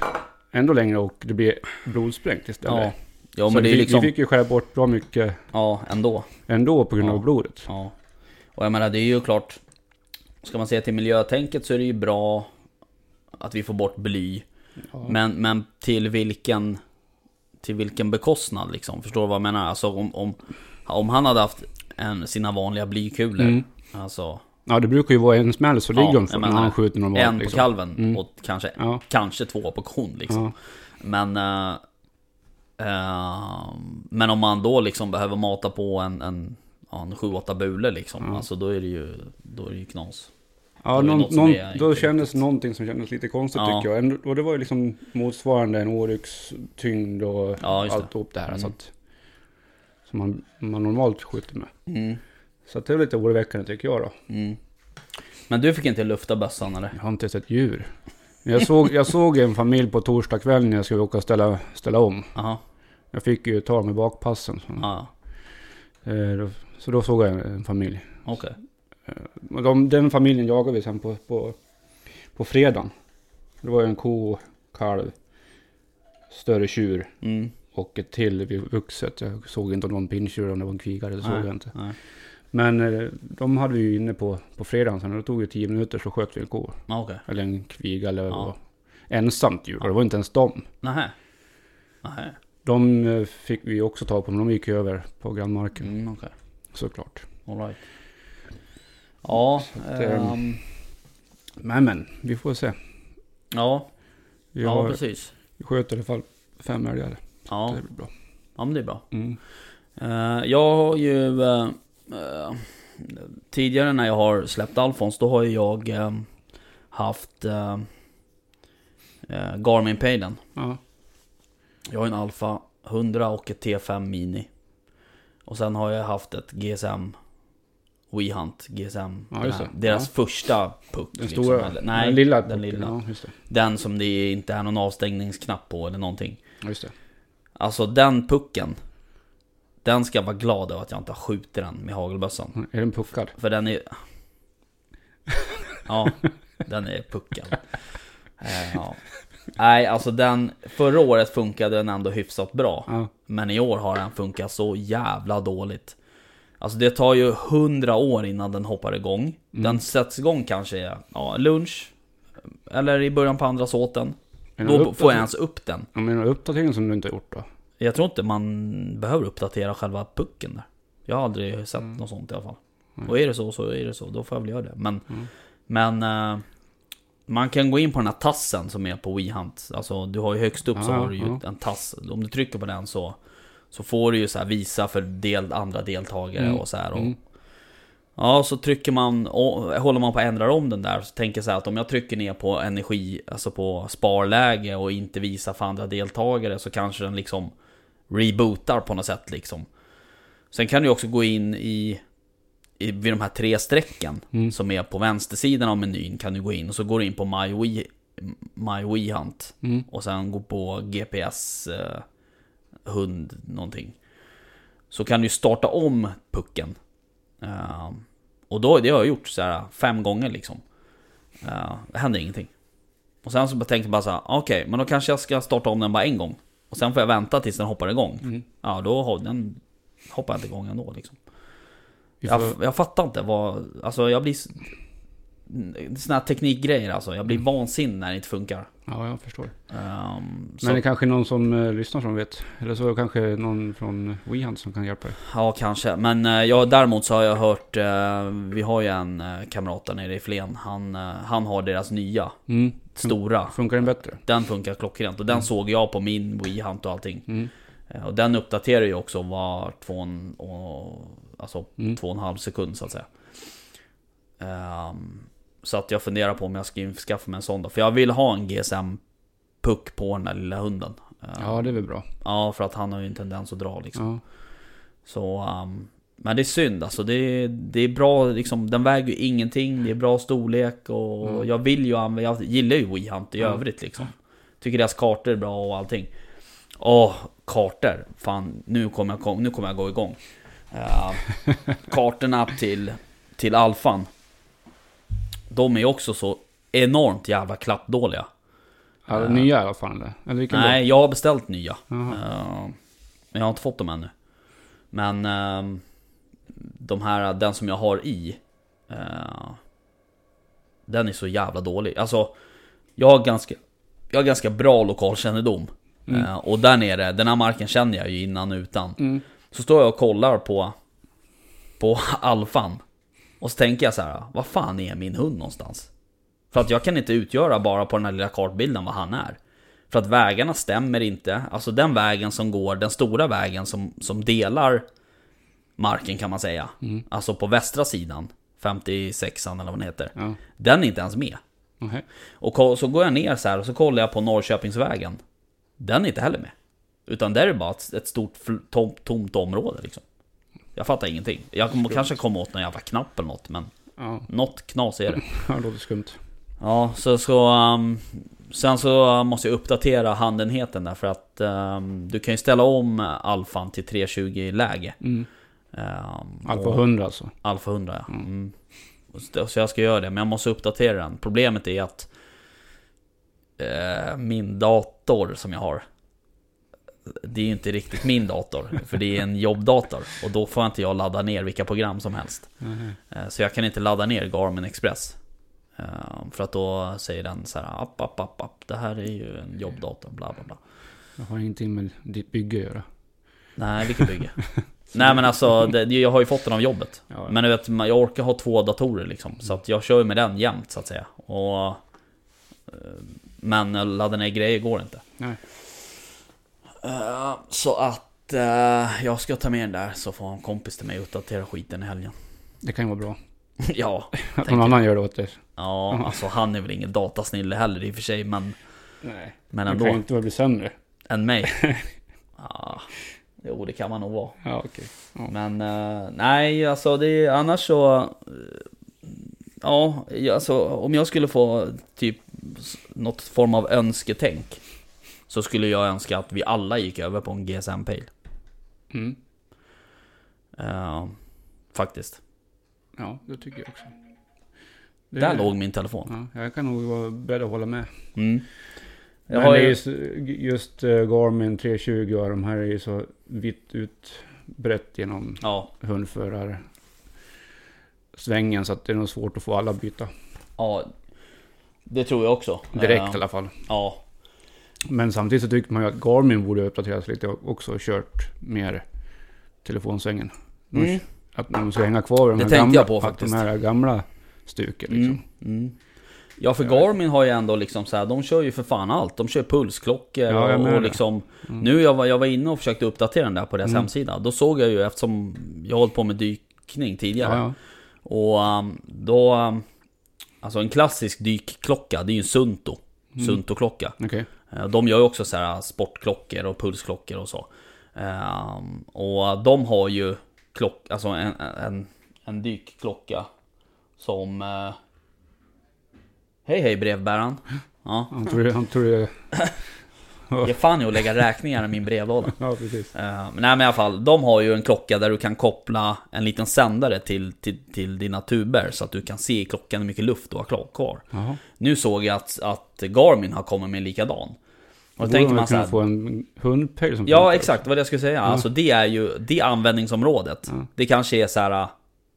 S2: ändå längre och det blir blodsprängt istället.
S1: Ja. Ja
S2: Så
S1: men det är
S2: vi,
S1: ju liksom...
S2: vi fick ju skära bort bra mycket
S1: Ja, ändå.
S2: ändå på grund
S1: Ja.
S2: av blodet.
S1: Ja. Och jag menar det är ju klart, ska man se till miljötänket så är det ju bra att vi får bort bly.
S2: Ja.
S1: Men, men till vilken till vilken bekostnad liksom? Förstår du vad jag menar? Alltså om, om, om han hade haft en, sina vanliga blykulor.
S2: Mm.
S1: Alltså
S2: Ja, det brukar ju vara en smäll så
S1: Ja,
S2: ligger de
S1: jag
S2: för när
S1: menar
S2: han skjuter normalt.
S1: en på
S2: liksom.
S1: kalven
S2: Mm.
S1: och kanske,
S2: Ja,
S1: kanske två på kon liksom.
S2: ja.
S1: Men, eh, eh, men om man då liksom behöver mata på en, en, ja, en 7-8 bulor liksom.
S2: Ja.
S1: Alltså då är det ju, då är det ju knas.
S2: ja
S1: Det var ju
S2: någon,
S1: något som
S2: någon,
S1: är
S2: då
S1: inte
S2: kändes någonting som kändes lite konstigt
S1: Ja.
S2: tycker jag. Ändå- Och det var ju liksom motsvarande en oryx tyngd och
S1: Ja, just det.
S2: alltihop det här. Så
S1: Mm.
S2: att, som man, man normalt skjuter med. Så att det är lite oroväckande tycker jag då.
S1: Mm. Men du fick inte lufta bössan eller?
S2: Jag har inte sett djur. Men Jag såg, jag såg en familj på torsdag kväll när jag skulle åka och ställa, ställa om.
S1: Jaha,
S2: Jag fick ju ta med bakpassen. Så,
S1: Ah, ja,
S2: eh, då- så då såg jag en, en familj.
S1: okej.
S2: Och De, den familjen jagade vi sen på, på, på fredagen. Det var ju en ko, kalv, större tjur
S1: Mm.
S2: och ett till vid vuxet. Jag såg inte om det var en pinntjur eller om det var en kvigare. Det såg
S1: Nej,
S2: jag inte.
S1: nej.
S2: Men eh, de hade vi ju inne på, på fredagen sen. och Det tog ju tio minuter så sköt vi en ko.
S1: Ja, okej.
S2: Eller en kviga eller
S1: Ja.
S2: vad. Ensamt djur. Och det var inte ens dem.
S1: Nähä. Nähä.
S2: De eh, fick vi också ta på, men de gick ju över på grannmarken.
S1: Mm, okej.
S2: Såklart.
S1: All right. Ja,
S2: att,
S1: ehm,
S2: Men men, vi får se.
S1: ja,
S2: Vi,
S1: ja
S2: har,
S1: precis.
S2: vi sköt i alla fall fem älgar.
S1: Ja,
S2: Det blir bra.
S1: ja, men det är bra.
S2: Mm.
S1: Eh, Jag har ju... eh, eh, tidigare när jag har släppt Alfons, då har ju jag eh, haft eh, eh, Garmin-pejlen.
S2: Ja.
S1: Jag har en Alfa 100 och ett T5 Mini. Och sen har jag haft ett GSM WeHunt, GSM.
S2: Ja, just det.
S1: eh, Deras första puck. liksom.
S2: Den stora?
S1: eller- nej,
S2: Liksom den lilla?
S1: Den, lilla.
S2: Ja, just det.
S1: den som det inte är någon avstängningsknapp på eller någonting.
S2: Ja, just det.
S1: Alltså den pucken. Den ska jag vara glad över att jag inte har skjutit den med hagelbössan.
S2: Ja, Är den puckad?
S1: För den är... Ja, den är puckad. Eh, Ja. Nej, alltså den... Förra året funkade den ändå hyfsat bra.
S2: Ja.
S1: Men i år har den funkat så jävla dåligt. Alltså det tar ju hundra år innan den hoppar igång.
S2: Mm.
S1: Den sätts igång kanske ja, lunch. Eller i början på andra såten.
S2: Är det
S1: Då
S2: upp-
S1: får jag ens upp den.
S2: Jag menar uppdateringen som du inte har gjort då?
S1: Jag tror inte man behöver uppdatera själva pucken där. Jag har aldrig sett
S2: Mm.
S1: något sånt i alla fall. Och är det så så är det så, då får jag väl göra det. Men,
S2: Mm.
S1: men eh, man kan gå in på den här tassen som är på WeHunt. Alltså du har ju högst upp så
S2: Ja,
S1: har du ju
S2: ja.
S1: en tass. Om du trycker på den så, så får du ju så här visa för del, andra deltagare
S2: Mm.
S1: och så här. Och,
S2: Mm.
S1: Ja, så trycker man, och, håller man på att ändra om den där. Så tänker jag så här att om jag trycker ner på energi, alltså på sparläge och inte visar för andra deltagare så kanske den liksom rebootar på något sätt liksom. Sen kan du också gå in i, i vid de här tre strecken
S2: Mm.
S1: som är på vänstersidan av menyn kan du gå in och så går du in på My We, My We Hunt
S2: Mm.
S1: och sen gå på GPS eh, hund någonting. Så kan du starta om pucken. Eh, och då, det har jag gjort så här fem gånger liksom. Eh, det händer ingenting. Och sen så bara tänkte jag bara så här, "Ah, okej, men då kanske jag ska starta om den bara en gång. Och sen får jag vänta tills den hoppar igång.
S2: Mm.
S1: Ja, då har den hoppar inte igång ändå liksom.
S2: Vi får,
S1: Jag, jag fattar inte vad, alltså jag blir... s- Såna här teknikgrejer alltså, jag blir
S2: Mm.
S1: vansinnig när det inte funkar.
S2: ja, jag förstår.
S1: Ehm, så,
S2: Men det kanske är någon som eh, lyssnar som vet. Eller så kanske någon från WeHunt som kan hjälpa er.
S1: Ja, kanske. Men eh, ja, däremot så har jag hört, eh, vi har ju en eh, kamrat där nere i Flen, han, eh, han har deras nya,
S2: Mm.
S1: stora.
S2: Funkar den bättre?
S1: Den funkar klockrent och den såg jag på min WeHunt och allting.
S2: Mm.
S1: Eh, Och den uppdaterar ju också var två och, en- och, alltså
S2: Mm.
S1: två och en halv sekund så att säga. Ehm, så att jag funderar på om jag ska skaffa mig en sån då. För jag vill ha en GSM-puck på den där lilla hunden. Ehm,
S2: Ja, det är väl bra.
S1: ja, för att han har ju en tendens att dra liksom.
S2: Ja.
S1: Så, ehm, men det är synd alltså. Det, är- det är bra liksom, den väger ju ingenting, det är bra storlek och
S2: Mm.
S1: jag vill ju använda, jag gillar ju WeHunt i
S2: Mm.
S1: övrigt liksom. Tycker deras kartor är bra och allting. Åh, kartor! Fan, nu kommer jag, kom- nu kommer jag gå igång. Uh, kartorna till, till alfan. De är ju också så enormt jävla klappdåliga.
S2: Ja,
S1: Eh.
S2: Nya i alla fall eller? Eller vilken
S1: Nej, jag har beställt nya.
S2: då? Jaha.
S1: Eh, Men jag har inte fått dem ännu. Men ehm, de här, den som jag har i. eh, den är så jävla dålig. Alltså, jag har ganska, jag har ganska bra lokalkännedom.
S2: Mm.
S1: Eh, och där nere, den här marken känner jag ju innan och utan.
S2: Mm.
S1: Så står jag och kollar på, på alfan. Och så tänker jag så här, "Ah, vad fan är min hund någonstans? För att jag kan inte utgöra bara på den här lilla kartbilden vad han är. För att vägarna stämmer inte. Alltså den vägen som går, den stora vägen som, som delar marken kan man säga. Alltså på västra sidan, 56an eller vad den heter.
S2: Ja.
S1: Den är inte ens med.
S2: Okej.
S1: Och ko- så går jag ner så här och så kollar jag på Norrköpingsvägen. Den är inte heller med. Utan där är det bara ett, ett stort fl- tom, tomt område liksom. Jag fattar ingenting. Jag kommer, kanske kommer åt någon jävla knapp eller något, men
S2: Ja,
S1: något knas är det.
S2: det låter skumt.
S1: Ja, så så... ehm, sen så måste jag uppdatera handenheten där för att ehm, du kan ju ställa om alfan till 320 läge.
S2: Mm.
S1: Ehm,
S2: Alfa
S1: och-
S2: 100 alltså.
S1: Alfa 100 ja. Mm. Så- Så jag ska göra det, men jag måste uppdatera den. Problemet är att eh, min dator som jag har det är ju inte riktigt min dator, för det är en jobbdator. Och då får inte jag ladda ner vilka program som helst.
S2: Mhm.
S1: Eh, Så jag kan inte ladda ner Garmin Express. Eh, För att då säger den så här, app, app, app, app, det här är ju en jobbdator, bla bla bla.
S2: Det har ingenting med ditt bygge att göra.
S1: Nej, vilket bygge? Nej men alltså, det, jag har ju fått den av jobbet.
S2: Ja, ja.
S1: Men du vet, man- jag orkar ha två datorer liksom. Så att jag kör ju med den jämt så att säga. Och, eh, men ladda ner grejer går inte.
S2: Nej.
S1: Eh, Så att eh, jag ska ta med den där så får en kompis till mig och uppdatera skiten i helgen.
S2: Det kan ju vara bra.
S1: ja,
S2: Att någon
S1: Tänker-
S2: annan gör det åt dig.
S1: ja, alltså han är väl ingen datasnille heller i och för sig, men,
S2: Nej.
S1: men
S2: Man kan ju
S1: ändå.
S2: inte bli sämre.
S1: Än mig. Ah, jo, det kan man nog vara.
S2: Ja, okej.
S1: Men eh, nej, alltså det är annars så... eh, ja, jag- alltså om jag skulle få typ s- något form av önsketänk. Så skulle jag önska att vi alla gick över på en GSM Pale.
S2: Mm.
S1: Eh, faktiskt.
S2: Ja, det tycker jag också. Det-
S1: Där låg min telefon.
S2: Ja, jag kan nog vara beredd att hålla med.
S1: Mm. Jag
S2: Men
S1: har
S2: det är
S1: ju-
S2: just, just eh, Garmin 320 och de här är ju så vitt utbrett genom
S1: Ja,
S2: hundförare svängen så att det är nog svårt att få alla att byta.
S1: ja. Det tror jag också.
S2: Direkt
S1: Eh,
S2: i alla fall.
S1: Ja,
S2: Men samtidigt så tycker man ju att Garmin borde uppdateras lite och också och kört mer telefonsvängen. De-
S1: Mm.
S2: Att man ska hänga kvar vid
S1: Det
S2: de här
S1: tänkte
S2: gamla,
S1: jag på
S2: att
S1: faktiskt.
S2: De här gamla stuket liksom.
S1: Mm, mm. Ja för Garmin har ju ändå liksom så här, de kör ju för fan allt. De kör pulsklockor
S2: Ja, jag
S1: och,
S2: menar
S1: och
S2: det. Mm.
S1: liksom... Nu jag var, jag var inne och försökte uppdatera den där på deras hemsida. Då såg jag ju, eftersom jag hållit på med dykning tidigare.
S2: Ja, ja.
S1: Och um, då... Um, alltså en klassisk dykklocka, det är ju en Sunto.
S2: Mm.
S1: Sunto-klocka.
S2: Okej.
S1: Eh, De gör ju också så här sportklockor och pulsklockor och så. Ehm, Och de har ju klock, alltså en, en, en dykklocka som... eh, Hej hej brevbäraren! Ja,
S2: Han tror det... Han tror det
S1: ge fan i att lägga räkningar i min brevlåda.
S2: ja, precis.
S1: Eh, Men nej men i alla fall, de har ju en klocka där du kan koppla en liten sändare till, till, till dina tuber så att du kan se i klockan hur mycket luft du har kvar- kvar.
S2: Jaha.
S1: Nu såg jag att, att Garmin har kommit med en likadan. Och då
S2: Borde
S1: tänker
S2: man
S1: man så
S2: kunna
S1: här,
S2: få en hundpejl som Mm.
S1: Ja
S2: funkar?
S1: exakt, vad jag skulle säga. Alltså det är ju, det användningsområdet.
S2: Mm.
S1: Det kanske är så här.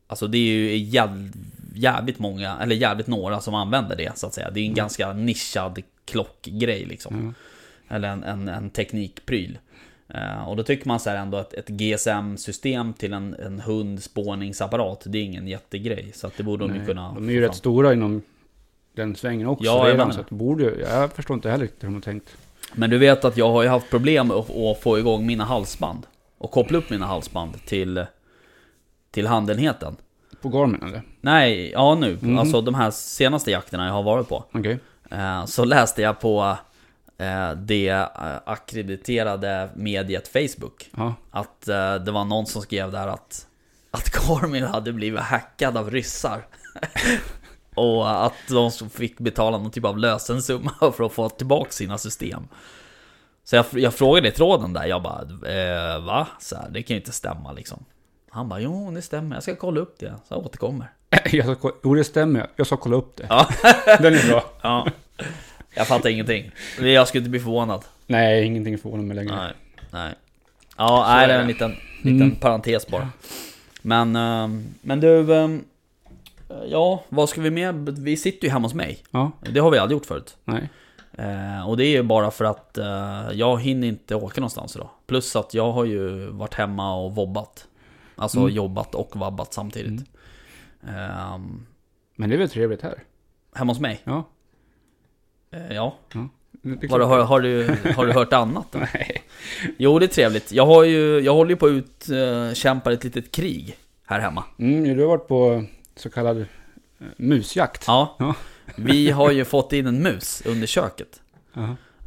S1: Alltså det är ju jäv, jävligt många, eller jävligt några som använder det så att säga. Det
S2: Mm.
S1: är en ganska nischad klockgrej liksom. Eller en, en, en teknikpryl. Eh, och då tycker man så här ändå att ett GSM-system till en, en hundspårningsapparat, det är ingen jättegrej. Så att det borde de ju
S2: Nej,
S1: kunna...
S2: De är ju
S1: få
S2: rätt stora inom den svängen också
S1: Ja, jag menar
S2: redan. Så
S1: det.
S2: att borde, ju- jag förstår inte heller riktigt hur de har tänkt.
S1: Men du vet att jag har ju haft problem att att få igång mina halsband. Och koppla upp mina halsband till, till handenheten.
S2: På Garmin eller?
S1: Nej, ja nu. Alltså de här senaste jakterna jag har varit på.
S2: Okej.
S1: Eh, så läste jag på eh, det eh, akkrediterade mediet Facebook.
S2: Ja.
S1: Att eh, det var någon som skrev där att, att Garmin hade blivit hackad av ryssar. Och att de som fick betala någon typ av lösensumma för att få tillbaka sina system. Så jag, jag frågade i tråden där, jag bara eh, va? Så här, det kan ju inte stämma liksom. Han bara jo det stämmer, jag ska kolla upp det. Så jag återkommer.
S2: Jag ska, ko- jo, det stämmer. Jag ska kolla upp det.
S1: Ja.
S2: Den är bra.
S1: Ja. Jag fattar ingenting. Jag skulle inte bli förvånad.
S2: Nej, ingenting förvånar mig längre.
S1: Nej. Nej. Ja, nej, det är en liten, liten parentes bara. Men, ehm, men du... ehm, Ja, vad ska vi med? Vi sitter ju hemma hos mig.
S2: Ja,
S1: Det har vi aldrig gjort förut.
S2: nej.
S1: Eh, Och det är ju bara för att eh, jag hinner inte åka någonstans idag. Plus att jag har ju varit hemma och vobbat. Alltså jobbat och vabbat samtidigt. Ehm,
S2: Men det är väl trevligt här?
S1: Hemma hos mig?
S2: Ja.
S1: Eh, Ja.
S2: ja. Det är
S1: Var,
S2: klart.
S1: har, har, du, har du hört annat? Då?
S2: Nej.
S1: Jo, det är trevligt. Jag, har ju, jag håller ju på att utkämpa ett litet krig här hemma.
S2: Mm, du har varit på så kallad eh, musjakt.
S1: Ja,
S2: Ja.
S1: vi har ju fått in en mus under köket.
S2: Ja.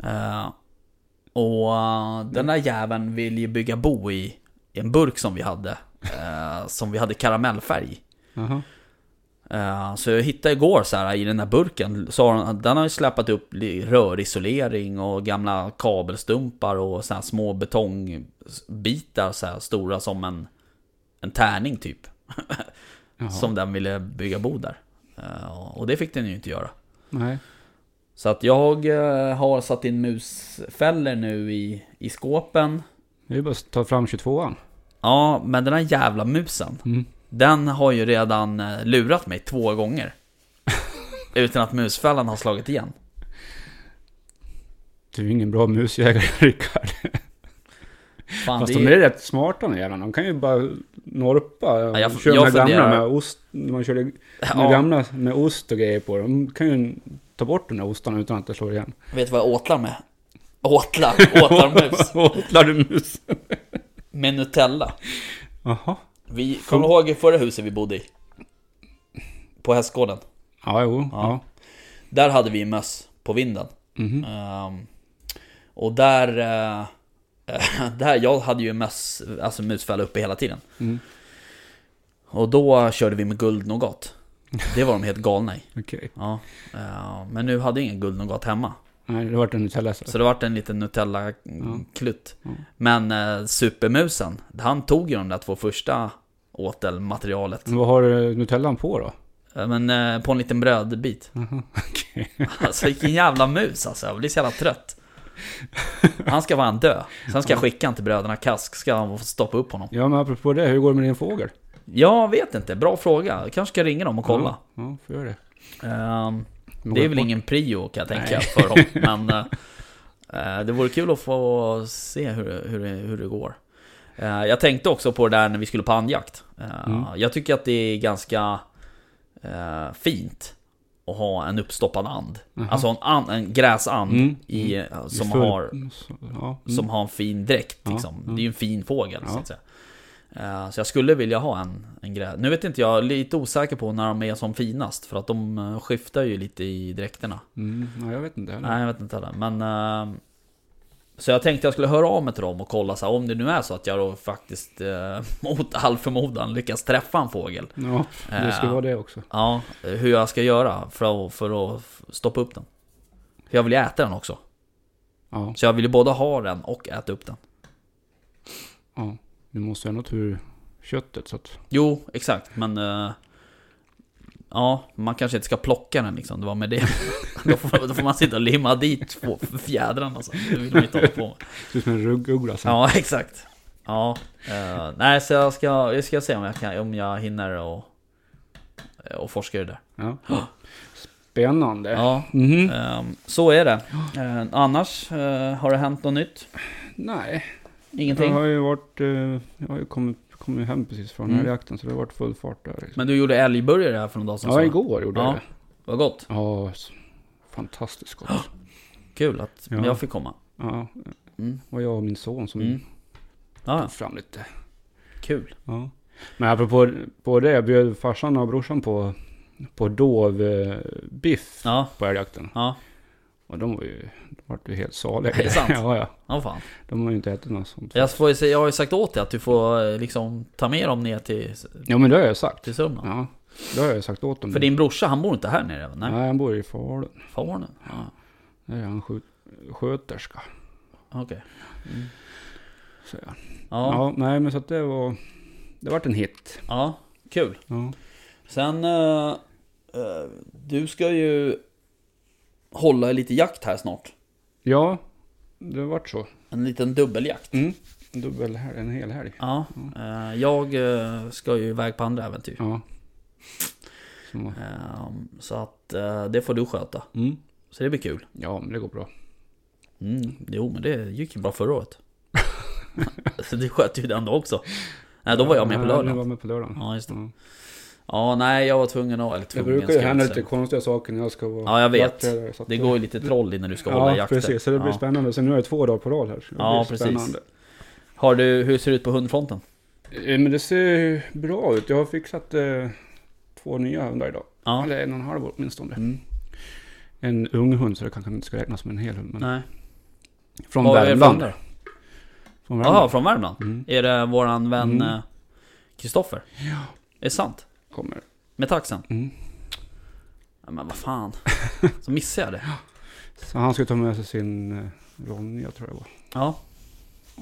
S1: Eh, och eh, den där jäveln vill ju bygga bo i en burk som vi hade. eh, som vi hade karamellfärg i.
S2: Jaha.
S1: Eh, Så jag hittade igår så här i den här burken, så har den, den har ju släpat upp li- rörisolering och gamla kabelstumpar och så här små betongbitar så här stora som en, en tärning typ.
S2: Jaha.
S1: Som den ville bygga bo där. Eh, Och det fick den ju inte göra.
S2: Nej.
S1: Så att jag eh, har satt in musfällor nu i, i skåpen.
S2: Det är bara att ta fram 22an.
S1: Ja, men den här jävla musen.
S2: Mm.
S1: Den har ju redan eh, lurat mig två gånger. utan att musfällan har slagit igen.
S2: Du är ingen bra musjägare, Rickard.
S1: Fan,
S2: Fast
S1: det
S2: de är rätt smarta de jävlarna. De kan ju bara norpa. Ja,
S1: jag-
S2: jag, kör
S1: jag
S2: de här gamla
S1: funderar-
S2: med ost. när Man körde
S1: Ja.
S2: de gamla med ost och grejer på. De kan ju ta bort de där ostarna utan att det slår igen.
S1: Vet du vad jag åtlar med? Åtlar, åtlarmus
S2: Åtlar du mus?
S1: med Nutella.
S2: Jaha.
S1: Vi, kommer du ihåg förra huset vi bodde i? på hästgården.
S2: Ja, jo. Ja.
S1: Där hade vi möss på vinden.
S2: Mhm.
S1: Ehm, och där, eh, där... Jag hade ju möss, alltså musfälla uppe hela tiden.
S2: Mm.
S1: Och då körde vi med guldnogat. Det var de helt galna i.
S2: Okej.
S1: Ja. eh, Men nu hade jag ingen guldnogat hemma.
S2: Nej, det vart en Nutella-läsare.
S1: Så det vart en liten Nutella-klutt.
S2: Ja. Mm.
S1: Men eh, supermusen, han tog ju de där två första åtelmaterialet.
S2: Men vad har eh, Nutellan på då?
S1: Eh, Men eh, på en liten brödbit.
S2: Jaha, Mhm, okej.
S1: Alltså vilken jävla mus alltså, jag blir så jävla trött. Han ska vara en dö. Sen ska jag skicka han till bröderna Kask, ska han få stoppa upp honom.
S2: Ja, men apropå det, hur går det med din fågel?
S1: Jag vet inte, bra fråga. Jag kanske ska ringa dem och kolla.
S2: Ja, ja får göra det.
S1: Ehm,
S2: Men
S1: det
S2: går
S1: är väl
S2: bort?
S1: ingen prio kan jag tänka för dem, men eh, eh, det vore kul att få se hur, hur, det- hur det går. Eh, jag tänkte också på det där när vi skulle på andjakt. Eh,
S2: Mm.
S1: Jag tycker att det är ganska eh, fint att ha en uppstoppad and.
S2: Jaha.
S1: Alltså en, an, en gräsand
S2: Mm.
S1: i, eh, som,
S2: Full-
S1: har,
S2: så- Ja, mm.
S1: som har en fin dräkt.
S2: Ja,
S1: Liksom.
S2: ja.
S1: Det är ju en fin fågel så
S2: Ja.
S1: att säga. Eh, Så jag skulle vilja ha en, en grä... Nu vet inte jag, jag är lite osäker på när de är som finast. För att de eh, skiftar ju lite i dräkterna.
S2: Mm. Ja, jag vet inte heller.
S1: Nej, jag vet inte heller. Men... eh, så jag tänkte jag skulle höra av mig till dem och kolla så här, om det nu är så att jag då faktiskt eh, mot all förmodan lyckas träffa en fågel.
S2: Ja, det ska
S1: Eh,
S2: vara det också.
S1: Ja, hur jag ska göra för att, för att stoppa upp den. För jag vill ju äta den också.
S2: Ja,
S1: Så jag vill ju både ha den och äta upp den.
S2: ja. Du måste ju ha något ur köttet så att...
S1: Jo, exakt, men... eh, ja, man kanske inte ska plocka den liksom, det var med det. då, får, då får man sitta och limma dit få- fjädrarna sen. Det vill man inte hålla på med.
S2: Ser ut som en ruggugla sen.
S1: Ja, exakt. Ja, eh, nej så jag ska, jag ska se om jag, kan, om jag hinner och, och forska i det där.
S2: Ja. Spännande.
S1: Ja,
S2: Mhm.
S1: ehm, så är det. Eh, annars, eh, har det hänt något nytt?
S2: Nej, jag
S1: Ingenting?
S2: har ju varit... eh, Jag har ju kommit, kommit hem precis från
S1: Mm.
S2: mm. jakten så det har varit full fart där. Liksom.
S1: Men du gjorde älgburgare här för någon dag sedan? sa
S2: Ja,
S1: du.
S2: igår gjorde
S1: Ja.
S2: jag det.
S1: Vad gott,
S2: Ja, s- fantastiskt gott.
S1: kul att
S2: Ja.
S1: jag fick komma.
S2: Ja,
S1: Mm.
S2: och jag och min son som
S1: Mm. Ja,
S2: tog fram lite.
S1: kul.
S2: Ja. Men apropå på det, jag bjöd farsan och brorsan på, på dovbiff
S1: Ja,
S2: på älgjakten.
S1: ja,
S2: Och de var ju, de var ju helt saliga.
S1: Är det sant?
S2: ja, ja.
S1: ja fan.
S2: De har ju inte ätit något sånt.
S1: Jag, får ju, säga- jag har ju sagt åt dig att du får eh, liksom ta med dem ner till,
S2: Ja, men det har jag sagt.
S1: till Sörmland.
S2: Ja, det har jag sagt åt dem.
S1: För din brorsa, han bor inte här nere? va?
S2: Nej,
S1: Nej,
S2: han bor i Falun.
S1: Falun? Ja,
S2: Där är han skjut, sköterska,
S1: okej.
S2: säger han. Ja.
S1: Ja,
S2: nej men så att det var... Det vart en hit.
S1: ja, kul.
S2: Ja.
S1: Sen, eh, eh, du ska ju hålla i lite jakt här snart.
S2: ja, det vart så.
S1: En liten dubbeljakt.
S2: Mm. Dubbel här, en hel helg.
S1: Ja, eh, jag eh, ska ju iväg på andra äventyr.
S2: Ja. Så,
S1: Eh, så att eh, det får du sköta.
S2: mm.
S1: Så det blir kul.
S2: Ja, men det går bra.
S1: Mm, jo, men det gick ju bra förra året. så du sköt ju den då också. Nej, då var jag med på
S2: Ja, Du var
S1: lördagen.
S2: med på lördagen.
S1: Ja, just det.
S2: Ja.
S1: Ja, nej, jag var tvungen att... Eller
S2: Det
S1: tvungen,
S2: brukar
S1: ska
S2: ju
S1: jag
S2: hända
S1: inte
S2: lite
S1: säga.
S2: konstiga saker när jag ska vara
S1: Ja, jag vet.
S2: jaktledare, så att
S1: Det går ju lite troll i när du ska hålla i
S2: Ja,
S1: jakter.
S2: precis. Så det blir
S1: Ja.
S2: spännande. Så nu är det två dagar på rad här. Så det
S1: Ja,
S2: blir
S1: precis.
S2: spännande.
S1: Har du, hur ser det ut på hundfronten?
S2: Eh, Men det ser ju bra ut. Jag har fixat eh, två nya hundar idag.
S1: Ja.
S2: Eller en och en halv åtminstone.
S1: Mm.
S2: En ung hund, så det kanske inte ska räknas som en hel hund. Men
S1: Nej.
S2: Från
S1: Vad är det för
S2: Värmland.
S1: hundar?
S2: Från
S1: Jaha,
S2: Värmland.
S1: från Värmland?
S2: Mm.
S1: Är det våran vän
S2: Mm.
S1: eh, Kristoffer?
S2: Ja.
S1: Är det sant?
S2: Kommer.
S1: Med taxen?
S2: Mm.
S1: Ja, Men vad fan. Så missade jag det.
S2: Så han skulle ta med sig sin eh, Ronja, tror jag det var.
S1: Ja,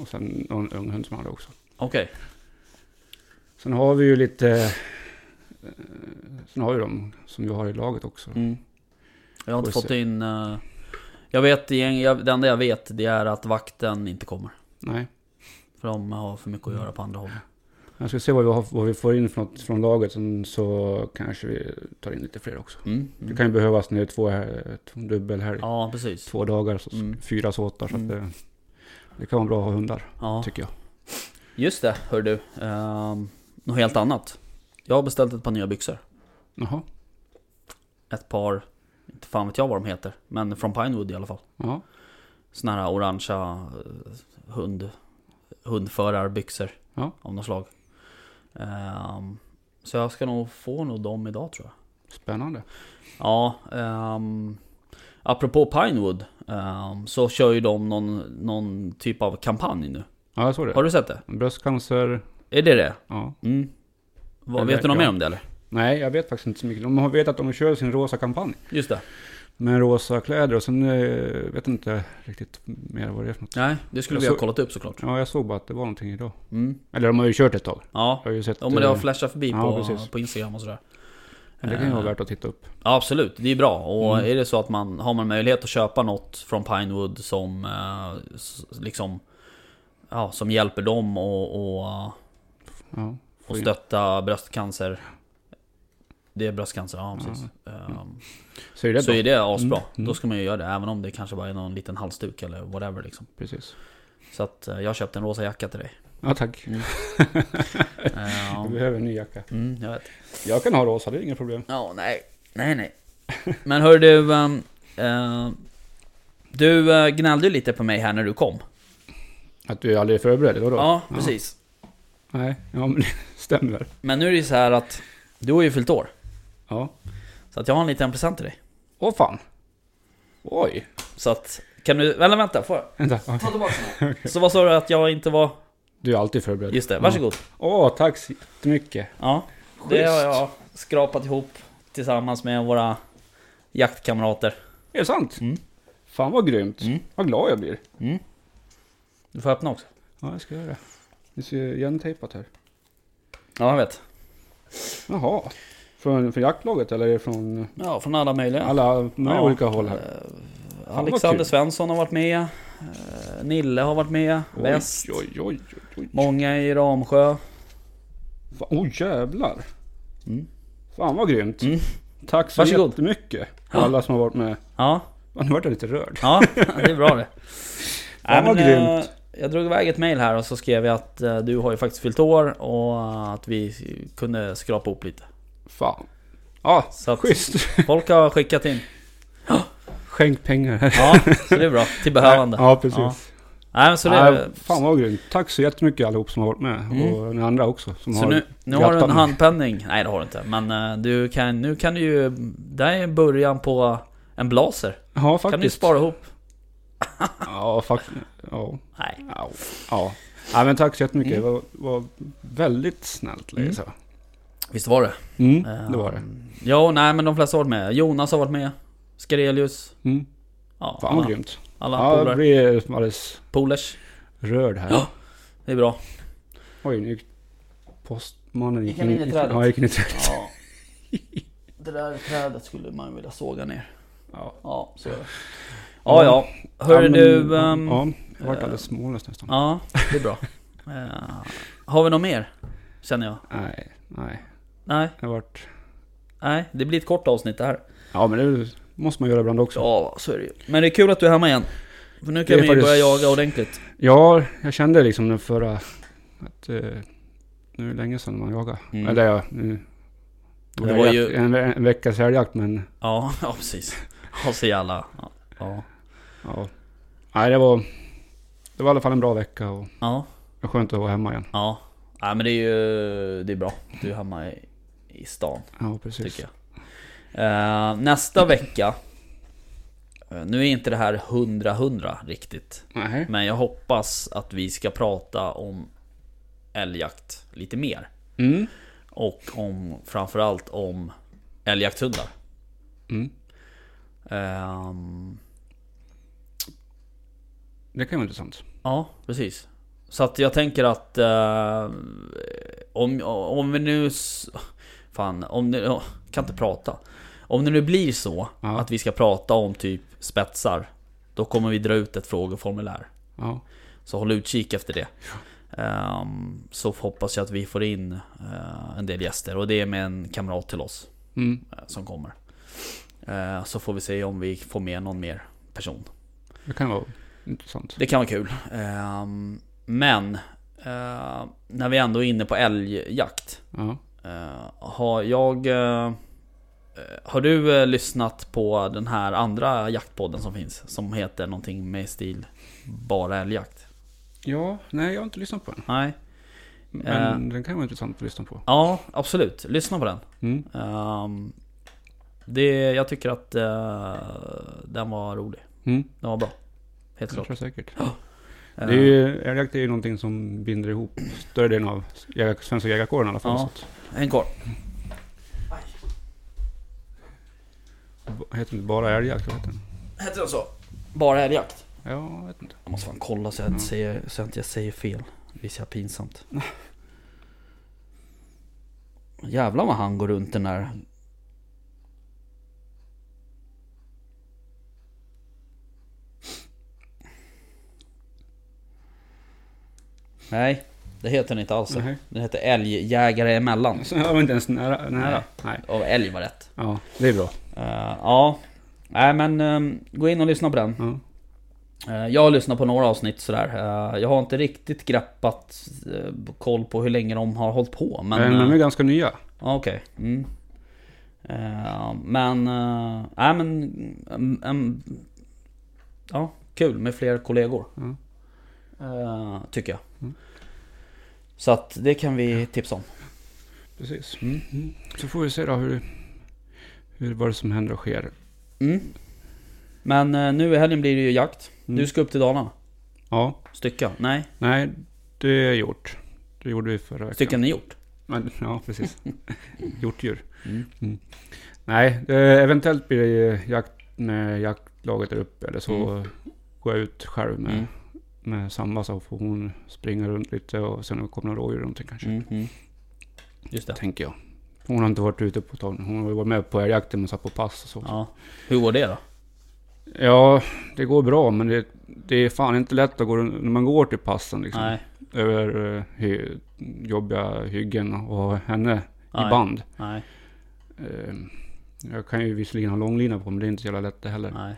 S2: Och sen någon ung hund som han hade också.
S1: okej.
S2: Sen har vi ju lite... eh, Sen har vi de som vi har i laget också.
S1: Jag har inte
S2: Mm. Får vi
S1: fått
S2: se.
S1: in... eh, jag vet, igen- jag- det enda jag vet det är att vakten inte kommer.
S2: Nej.
S1: För de har för mycket att göra på andra håll.
S2: Mm. Jag ska se vad vi, har, vad vi får in från, något från laget. Sen så kanske vi tar in lite fler också.
S1: Mm.
S2: Det
S1: Mm.
S2: kan ju behövas när det är två, här- två dubbelhelg.
S1: Ja, precis.
S2: Två dagar, så,
S1: Mm.
S2: fyra såtar. Så att
S1: Mm.
S2: det, det kan vara bra att ha hundar,
S1: Ja.
S2: tycker jag.
S1: Just det, hör du. Um, något helt annat. Jag har beställt ett par nya byxor.
S2: Jaha.
S1: Ett par... Inte fan vet jag vad de heter. Men från Pinewood i alla fall.
S2: Ja.
S1: Såna här orangea eh, hund, hundförarbyxor
S2: Ja.
S1: av något slag. Ehm, så jag ska nog få nog dem idag tror jag.
S2: Spännande.
S1: Ja, ehm, apropå Pinewood ehm, så kör ju de någon, någon typ av kampanj nu.
S2: Ja, jag såg det.
S1: Har du sett det?
S2: Bröstcancer,
S1: Är det det?
S2: ja.
S1: Mm. Vad,
S2: Det
S1: vet du något
S2: verkar-
S1: mer om det eller?
S2: Nej, jag vet faktiskt inte så mycket. De vet att de kör sin rosa kampanj.
S1: Just det.
S2: Med rosa kläder och sen eh, vet jag inte riktigt mer vad det är för något.
S1: Nej, det skulle
S2: Jag
S1: vi ha
S2: såg-
S1: kollat upp såklart.
S2: Ja, jag såg bara att det var någonting idag.
S1: Mm.
S2: Eller de har ju kört ett tag.
S1: Ja,
S2: Jag har ju sett...
S1: ja men det har
S2: eh,
S1: flashat förbi
S2: Ja,
S1: på,
S2: precis.
S1: på Instagram och sådär.
S2: men det kan ju
S1: Eh.
S2: vara värt att titta upp.
S1: Ja, absolut, det är bra. Och
S2: Mm.
S1: är det så att man har man möjlighet att köpa något från Pinewood som eh, s- liksom Ja, som hjälper dem och, och,
S2: Ja.
S1: och
S2: in.
S1: stötta bröstcancer Det är bröstcancer, ja precis Ehm,
S2: Så är Mm. det
S1: Så
S2: bra.
S1: är det asbra,
S2: Mm, mm.
S1: då ska man ju göra det även om det kanske bara är någon liten halsduk eller whatever liksom
S2: Precis.
S1: Så att eh, jag köpte en rosa jacka till dig
S2: Ja, tack.
S1: Ehm,
S2: Jag behöver en ny jacka.
S1: mm, jag vet
S2: Jag kan ha rosa, det är inga problem.
S1: Ja, nej. Nej, nej. Men hör du... ehm, eh, du eh, gnällde ju lite på mig här när du kom.
S2: Att du är aldrig förberedd, vadå?
S1: Ja, precis.
S2: Nej, ja men det stämmer.
S1: Men nu är det ju så här att du har ju fyllt år.
S2: Ja.
S1: Så att jag har en liten present till dig.
S2: Åh fan. Oj.
S1: Så att... Kan du... Vänta, vänta. Får jag?
S2: Vänta.
S1: Ta tillbaka den här. Så vad sa du att jag inte var...
S2: Du är alltid förberedd.
S1: Just det, varsågod.
S2: Ja. Åh, tack så jättemycket.
S1: Ja. Det har
S2: Schysst.
S1: jag skrapat ihop tillsammans med våra jaktkamrater.
S2: Är det sant?
S1: Mm.
S2: Fan vad grymt.
S1: Mm.
S2: Vad glad jag blir.
S1: Mm. Du får öppna också.
S2: Ja, jag ska göra det. Det ser ju igentejpat här.
S1: Ja, jag vet.
S2: Jaha. Från, från jaktlaget eller är det från
S1: Ja, från alla möjliga.
S2: alla möjliga
S1: Ja.
S2: olika håll här?
S1: Eh,
S2: vad
S1: Alexander
S2: kul.
S1: Svensson har varit med. eh, Nille har varit med. Äh, Väst.
S2: Oj, oj, oj. oj, oj.
S1: Många i Ramsjö.
S2: Fan, oh, jävlar.
S1: Mm.
S2: Fan vad grymt.
S1: Mm.
S2: Tack så
S1: Varsågod.
S2: jättemycket. Alla som har varit med.
S1: Ja,
S2: Man, nu vart jag lite rörd.
S1: ja det är bra det.
S2: Fan, vad
S1: Nej, men,
S2: grymt.
S1: eh, Jag drog iväg ett mail här och så skrev jag att eh, du har ju faktiskt fyllt år och att vi kunde skrapa ihop lite.
S2: Fan. Ja,
S1: Så att
S2: schysst.
S1: folk har skickat in.
S2: Skänk pengar här.
S1: Ja, så det är bra. Till behövande.
S2: Ja, precis.
S1: Ja. Nej, men så det
S2: Nej, fan vad grymt. Tack så jättemycket allihop som har varit med.
S1: Mm.
S2: Och ni andra också. Som
S1: Så
S2: har...
S1: nu, nu har du en
S2: grattat mig.
S1: handpenning. Nej det har du inte. Men eh, du kan, nu kan du ju... Det här är början på en blaser.
S2: Ja,
S1: Kan du
S2: faktiskt.
S1: spara ihop?
S2: Ja, faktiskt. Ja.
S1: Nej.
S2: Ja. ja. ja men tack så jättemycket. Det var, var väldigt snällt.
S1: Mm.
S2: Liksom.
S1: Visst var det?
S2: Mm.
S1: Eh,
S2: Det var det.
S1: Ja, nej men de flesta har varit med. Jonas har varit med. Skarelius.
S2: Mm.
S1: Ja,
S2: Fan vad
S1: alla,
S2: grymt.
S1: alla
S2: Ja, jag
S1: polare.
S2: blir alldeles
S1: polers.
S2: rörd här.
S1: Ja. Det är bra.
S2: Oj, nu gick postmannen
S1: Gick han in i trädet?
S2: Ja, gick in i trädet.
S1: Ja. Det där trädet skulle man vilja såga ner.
S2: Ja.
S1: Ja, så är det. Ja, ja. Hör
S2: men-
S1: du... ehm, ja.
S2: ja, jag vart alldeles smålös nästan.
S1: det är bra. Eh, har vi något mer? Känner jag.
S2: Nej, nej.
S1: Nej,
S2: Det vart...
S1: nej. Det blir ett kort avsnitt det här.
S2: Ja, men det måste man göra ibland också.
S1: Ja, så är det ju. Men det är kul att du är hemma igen. För nu kan
S2: Det
S1: vi
S2: är
S1: ju börja
S2: faktiskt-
S1: jaga ordentligt.
S2: Ja, jag kände liksom den förra... Att eh, nu är det länge sedan man jagade.
S1: Mm.
S2: Eller ja, nu...
S1: Det var ju-
S2: en, ve- en veckas älgjakt men...
S1: Ja, ja precis. Ja, så jävla... Ja. Ja.
S2: Ja. Nej, det var... Det var i alla fall en bra vecka och
S1: ja.
S2: det var skönt att vara hemma igen.
S1: Ja, Nej, men det är ju det är bra. Du är hemma i, i stan
S2: Ja, precis.
S1: tycker jag. Eh, nästa vecka. eh, Nu är inte det här hundra hundra riktigt.
S2: Nej.
S1: Men jag hoppas att vi ska prata om älgjakt lite mer.
S2: Mm.
S1: Och om framförallt om älgjakthundar.
S2: Mm.
S1: Ehm,
S2: Det kan vara intressant.
S1: Ja, precis. Så att jag tänker att... eh, om, om vi nu... s- Fan, om det... jag Kan inte prata. Om det nu blir så
S2: Ja.
S1: att vi ska prata om typ spetsar. Då kommer vi dra ut ett frågeformulär.
S2: Ja.
S1: Så håll utkik efter det. Ehm, så hoppas jag att vi får in eh, en del gäster. Och det är med en kamrat till oss
S2: Mm.
S1: eh, som kommer. Eh, så får vi se om vi får med någon mer person.
S2: Det kan vara intressant.
S1: Det kan vara kul. Ehm, men eh, när vi ändå är inne på älgjakt.
S2: Ja.
S1: eh, har jag... eh, har du eh, lyssnat på den här andra jaktpodden som finns? Som heter någonting med stil Bara älgjakt?
S2: Ja, nej jag har inte lyssnat på den.
S1: Nej? Eh.
S2: Men den kan vara intressant att lyssna på.
S1: Ja, absolut. Lyssna på den.
S2: Mm.
S1: Ehm, Det, jag tycker att eh, den var rolig.
S2: Mm,
S1: Den var bra. Helt
S2: det tror
S1: klart.
S2: jag säkert.
S1: Eh,
S2: Det är ju, älgjakt är ju någonting som binder ihop större delen av jägar, svenska jägarkåren i alla fall.
S1: Ja.
S2: Så att,
S1: Ehm, En kvar.
S2: b- heter inte bara älgjakt? vad Heter den?
S1: Hette den så? Bara älgjakt?
S2: Ja, jag vet inte.
S1: Jag måste fan kolla så jag inte säger, så jag, inte säger fel. Det blir så här pinsamt. Jävlar vad han går runt den där. Nej, det heter den inte alls.
S2: Nej.
S1: Den heter Älgjägare emellan.
S2: Så jag var inte ens nära. nära. Nej.
S1: Och älg var rätt.
S2: Ja, det är bra.
S1: Eh, ja. Nej men ehm, gå in och lyssna på den.
S2: Ja.
S1: Eh, Jag har lyssnat på några avsnitt sådär. Eh, Jag har inte riktigt greppat eh, koll på hur länge de har hållit på. Men...
S2: Men, de
S1: eh,
S2: är ganska nya.
S1: ja, Okej. Mm. Eh, Men... eh, Nej men... mm, mm, Ja, kul med fler kollegor.
S2: Ja.
S1: Eh, Tycker jag.
S2: Mm.
S1: Så att det kan vi tipsa om.
S2: Precis.
S1: Mm.
S2: Mm. Så får vi se då hur, hur vad det som händer och sker.
S1: Mm. Men eh, nu i helgen blir det ju jakt.
S2: Mm.
S1: Du ska upp till Dalarna.
S2: Ja,
S1: Stycka? Nej,
S2: nej, det är gjort. Det gjorde vi förra veckan.
S1: stycken är gjort.
S2: Men, ja, precis. Hjortdjur.
S1: Mm.
S2: Nej, eh, eventuellt blir det ju jakt med jaktlaget där uppe. Eller så går jag ut själv med,
S1: Mm.
S2: med Samba så får hon springa runt lite och sen kommer några rådjur runt kanske.
S1: Mm. Mm. Just det.
S2: Tänker jag. Hon har inte varit ute på ett tag. nu. Hon har ju varit med på älgjakten men satt på pass och så.
S1: Ja. Hur går det då?
S2: Ja, det går bra men det, det är fan inte lätt att gå runt- när man går till passen liksom.
S1: Nej,
S2: Över eh, hy, jobbiga hyggen och ha henne
S1: Nej.
S2: i band.
S1: nej,
S2: Eh, jag kan ju visserligen ha långlina på men det är inte så jävla lätt det heller.
S1: nej.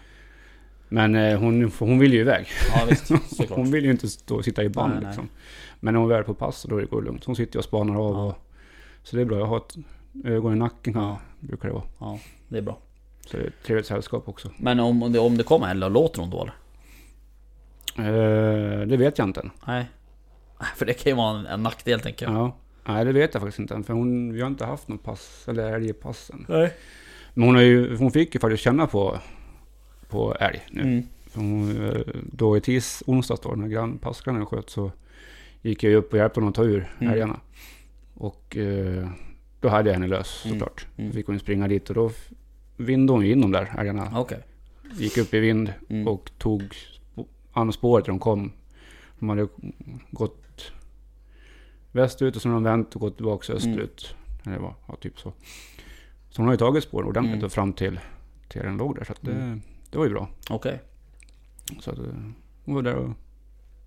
S2: Men eh, hon, hon vill ju iväg.
S1: Ja visst, Mm. såklart.
S2: Hon vill ju inte stå och sitta i band
S1: Nej, nej.
S2: liksom. Men när hon väl är på pass då går det lugnt. Hon sitter ju och spanar av.
S1: Ja.
S2: Och, så det är bra. Jag har ett ögon i nacken ja, brukar det vara.
S1: Ja, det är bra.
S2: Så det är ett trevligt sällskap också.
S1: Men om, om det, om det kommer eller låter hon då eller?
S2: Eh, det vet jag inte än.
S1: Nej. Nej, För det kan ju vara en, en nackdel tänker jag.
S2: Ja. Nej, det vet jag faktiskt inte än. För hon, vi har inte haft något pass, eller älg i passen.
S1: Nej.
S2: Men hon, har ju, hon fick ju faktiskt känna på, på älg nu.
S1: Mm.
S2: För hon, eh, då i tis, onsdags då, när grann, passgrannen sköt så gick jag ju upp och hjälpte honom att ta ur
S1: Mm.
S2: älgarna. Och eh, då hade jag henne lös
S1: Mm.
S2: såklart.
S1: Mm.
S2: Då fick hon springa dit och då f- vinde hon ju in de där älgarna.
S1: Okej.
S2: Gick upp i vind
S1: Mm.
S2: och tog sp- an spåret när de kom. De hade gått västut och sen har de vänt och gått tillbaka
S1: Mm.
S2: österut. Eller var, ja, typ så. Så hon har ju tagit spåren ordentligt
S1: Mm.
S2: och fram till, till den låg där. Så att det,
S1: Mm.
S2: det var ju bra.
S1: Okej.
S2: Så att, eh, hon var där och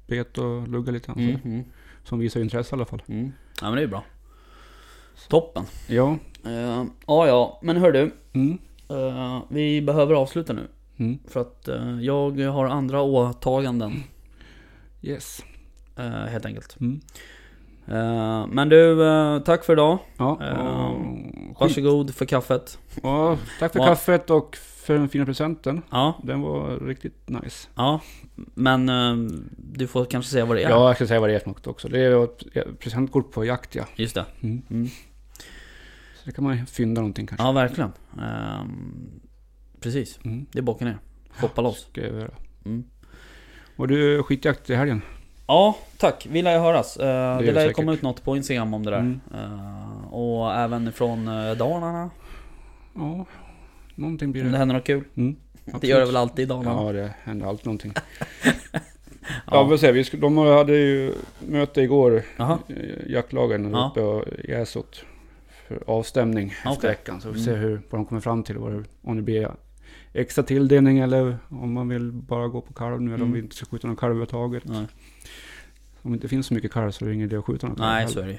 S2: bet och luggade lite grann.
S1: Mm,
S2: Mm.
S1: mm,
S2: Som visar intresse i alla fall.
S1: mm. Ja men det är ju bra. Toppen.
S2: Ja.
S1: Uh, ja ja, men hör du.
S2: Mm.
S1: eh, vi behöver avsluta nu.
S2: Mm.
S1: För att eh, jag har andra åtaganden
S2: Yes.
S1: eh, helt enkelt.
S2: Mm.
S1: Eh, men du, eh, tack för idag.
S2: Ja,
S1: Ehm,
S2: och, skit.
S1: Varsågod för kaffet.
S2: ja, tack för
S1: Ja.
S2: kaffet och för den fina presenten.
S1: Ja,
S2: Den var riktigt nice.
S1: ja. Men eh, du får kanske säga vad det är.
S2: Ja, jag ska säga vad det är för något också. Det är ett presentkort på jakt ja.
S1: Just det.
S2: Mm.
S1: Mm.
S2: Så det kan man ju fynda någonting kanske.
S1: Ja, verkligen. Ehm, precis,
S2: Mm.
S1: det är bara att åka ner. Shoppa loss.
S2: Ska jag göra.
S1: Mm.
S2: Och du, skitjakt i helgen?
S1: Ja, tack. Vi lär ju höras. Eh, det,
S2: gör vi
S1: lär ju
S2: säkert.
S1: komma ut något på Instagram om det där.
S2: Mm.
S1: Eh, och även från uh, Dalarna.
S2: Ja, någonting blir
S1: Om det
S2: det.
S1: händer något kul.
S2: Mm.
S1: Det gör det
S2: Absolut.
S1: väl alltid i Dalarna?
S2: Ja, det händer alltid någonting. ja,
S1: Ja.
S2: vi får se. Vi sk- de hade ju möte igår,
S1: Jaha.
S2: eh, jaktlagen där
S1: Ja.
S2: uppe och i Äsot. För avstämning efter
S1: Okej. Mm.
S2: veckan. Så vi får se hur, vad de kommer fram till. Vad det, om det blir extra tilldelning eller om man vill bara gå på kalv nu. Eller om
S1: Mm.
S2: vi inte ska skjuta någon kalv överhuvudtaget.
S1: Nej.
S2: Om det inte finns så mycket kalv så är det ingen idé att skjuta någon kalv
S1: Nej,
S2: heller.
S1: så är det ju.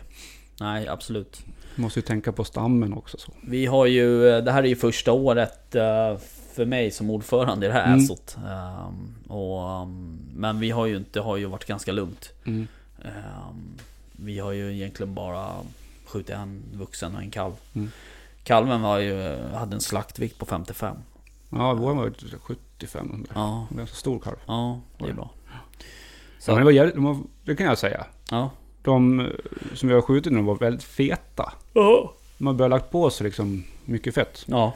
S1: Nej, absolut.
S2: Måste ju tänka på stammen också. Så.
S1: Vi har ju, eh, det här är ju första året eh, för mig som ordförande i det här
S2: Mm.
S1: Äsot. Ehm, och, ehm, men vi har ju inte, har ju varit ganska lugnt.
S2: Mm.
S1: Ehm, Vi har ju egentligen bara skjutit en vuxen och en kalv.
S2: Mm.
S1: Kalven var ju, hade en slaktvikt på 55.
S2: Ja, vår var ju 75.
S1: Ja,
S2: En ganska stor kalv.
S1: ja det är bra.
S2: Ja, men det,
S1: Så,
S2: var, jävligt- de var- det kan jag säga.
S1: ja.
S2: De eh, som vi har skjutit nu var väldigt feta.
S1: Ja.
S2: De har börjat lagt på sig liksom mycket fett.
S1: Ja,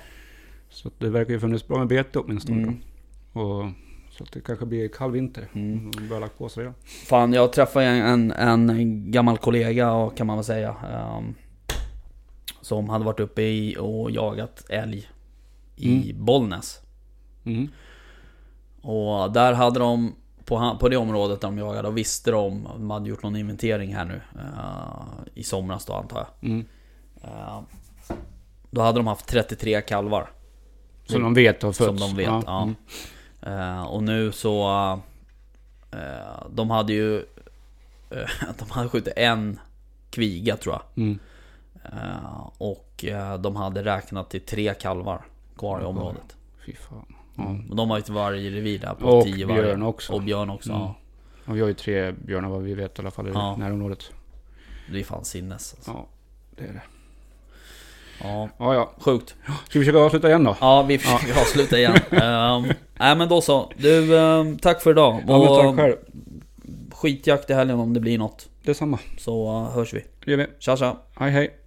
S2: Så att det verkar ju funnits bra med bete åtminstone.
S1: Mm.
S2: Och, så att det kanske blir kall vinter.
S1: Mm.
S2: Mm. De börjar lagt på sig redan.
S1: Fan, jag träffade en, en, en gammal kollega och kan man väl säga. ehm, som hade varit uppe i och jagat älg i Bollnäs.
S2: Mm.
S1: Och där hade de, på, han- på det området där de jagade, och visste de, de hade gjort någon inventering här nu. eh, I somras då antar jag.
S2: Mm.
S1: Eh, då hade de haft 33 kalvar.
S2: Som de vet har fötts.
S1: Som de vet, ja.
S2: Mm.
S1: Eh, och nu så... eh, de hade ju... eh, de hade skjutit en kviga tror jag.
S2: Mm.
S1: Eh, och eh, de hade räknat till tre kalvar kvar i området.
S2: Fy fan. Ja.
S1: Och de har ju till varje revir där på
S2: Och
S1: tio vargar.
S2: björn också.
S1: Mm. Och björn också.
S2: Mm.
S1: Ja,
S2: Och vi har ju tre björnar vad vi vet i alla fall i
S1: Ja.
S2: närområdet.
S1: det är fan sinnes. Alltså.
S2: Ja, det är det.
S1: Ja.
S2: Ja, ja.
S1: Sjukt.
S2: Ska vi försöka avsluta igen då?
S1: Ja, vi försöker avsluta igen. Ehm, nej men då så. Du, ehm, tack för idag.
S2: Ja, men tack
S1: Och
S2: själv.
S1: skitjakt i helgen om det blir något.
S2: Detsamma.
S1: Så eh, hörs vi.
S2: Det gör vi.
S1: Tja tja.
S2: Hej hej.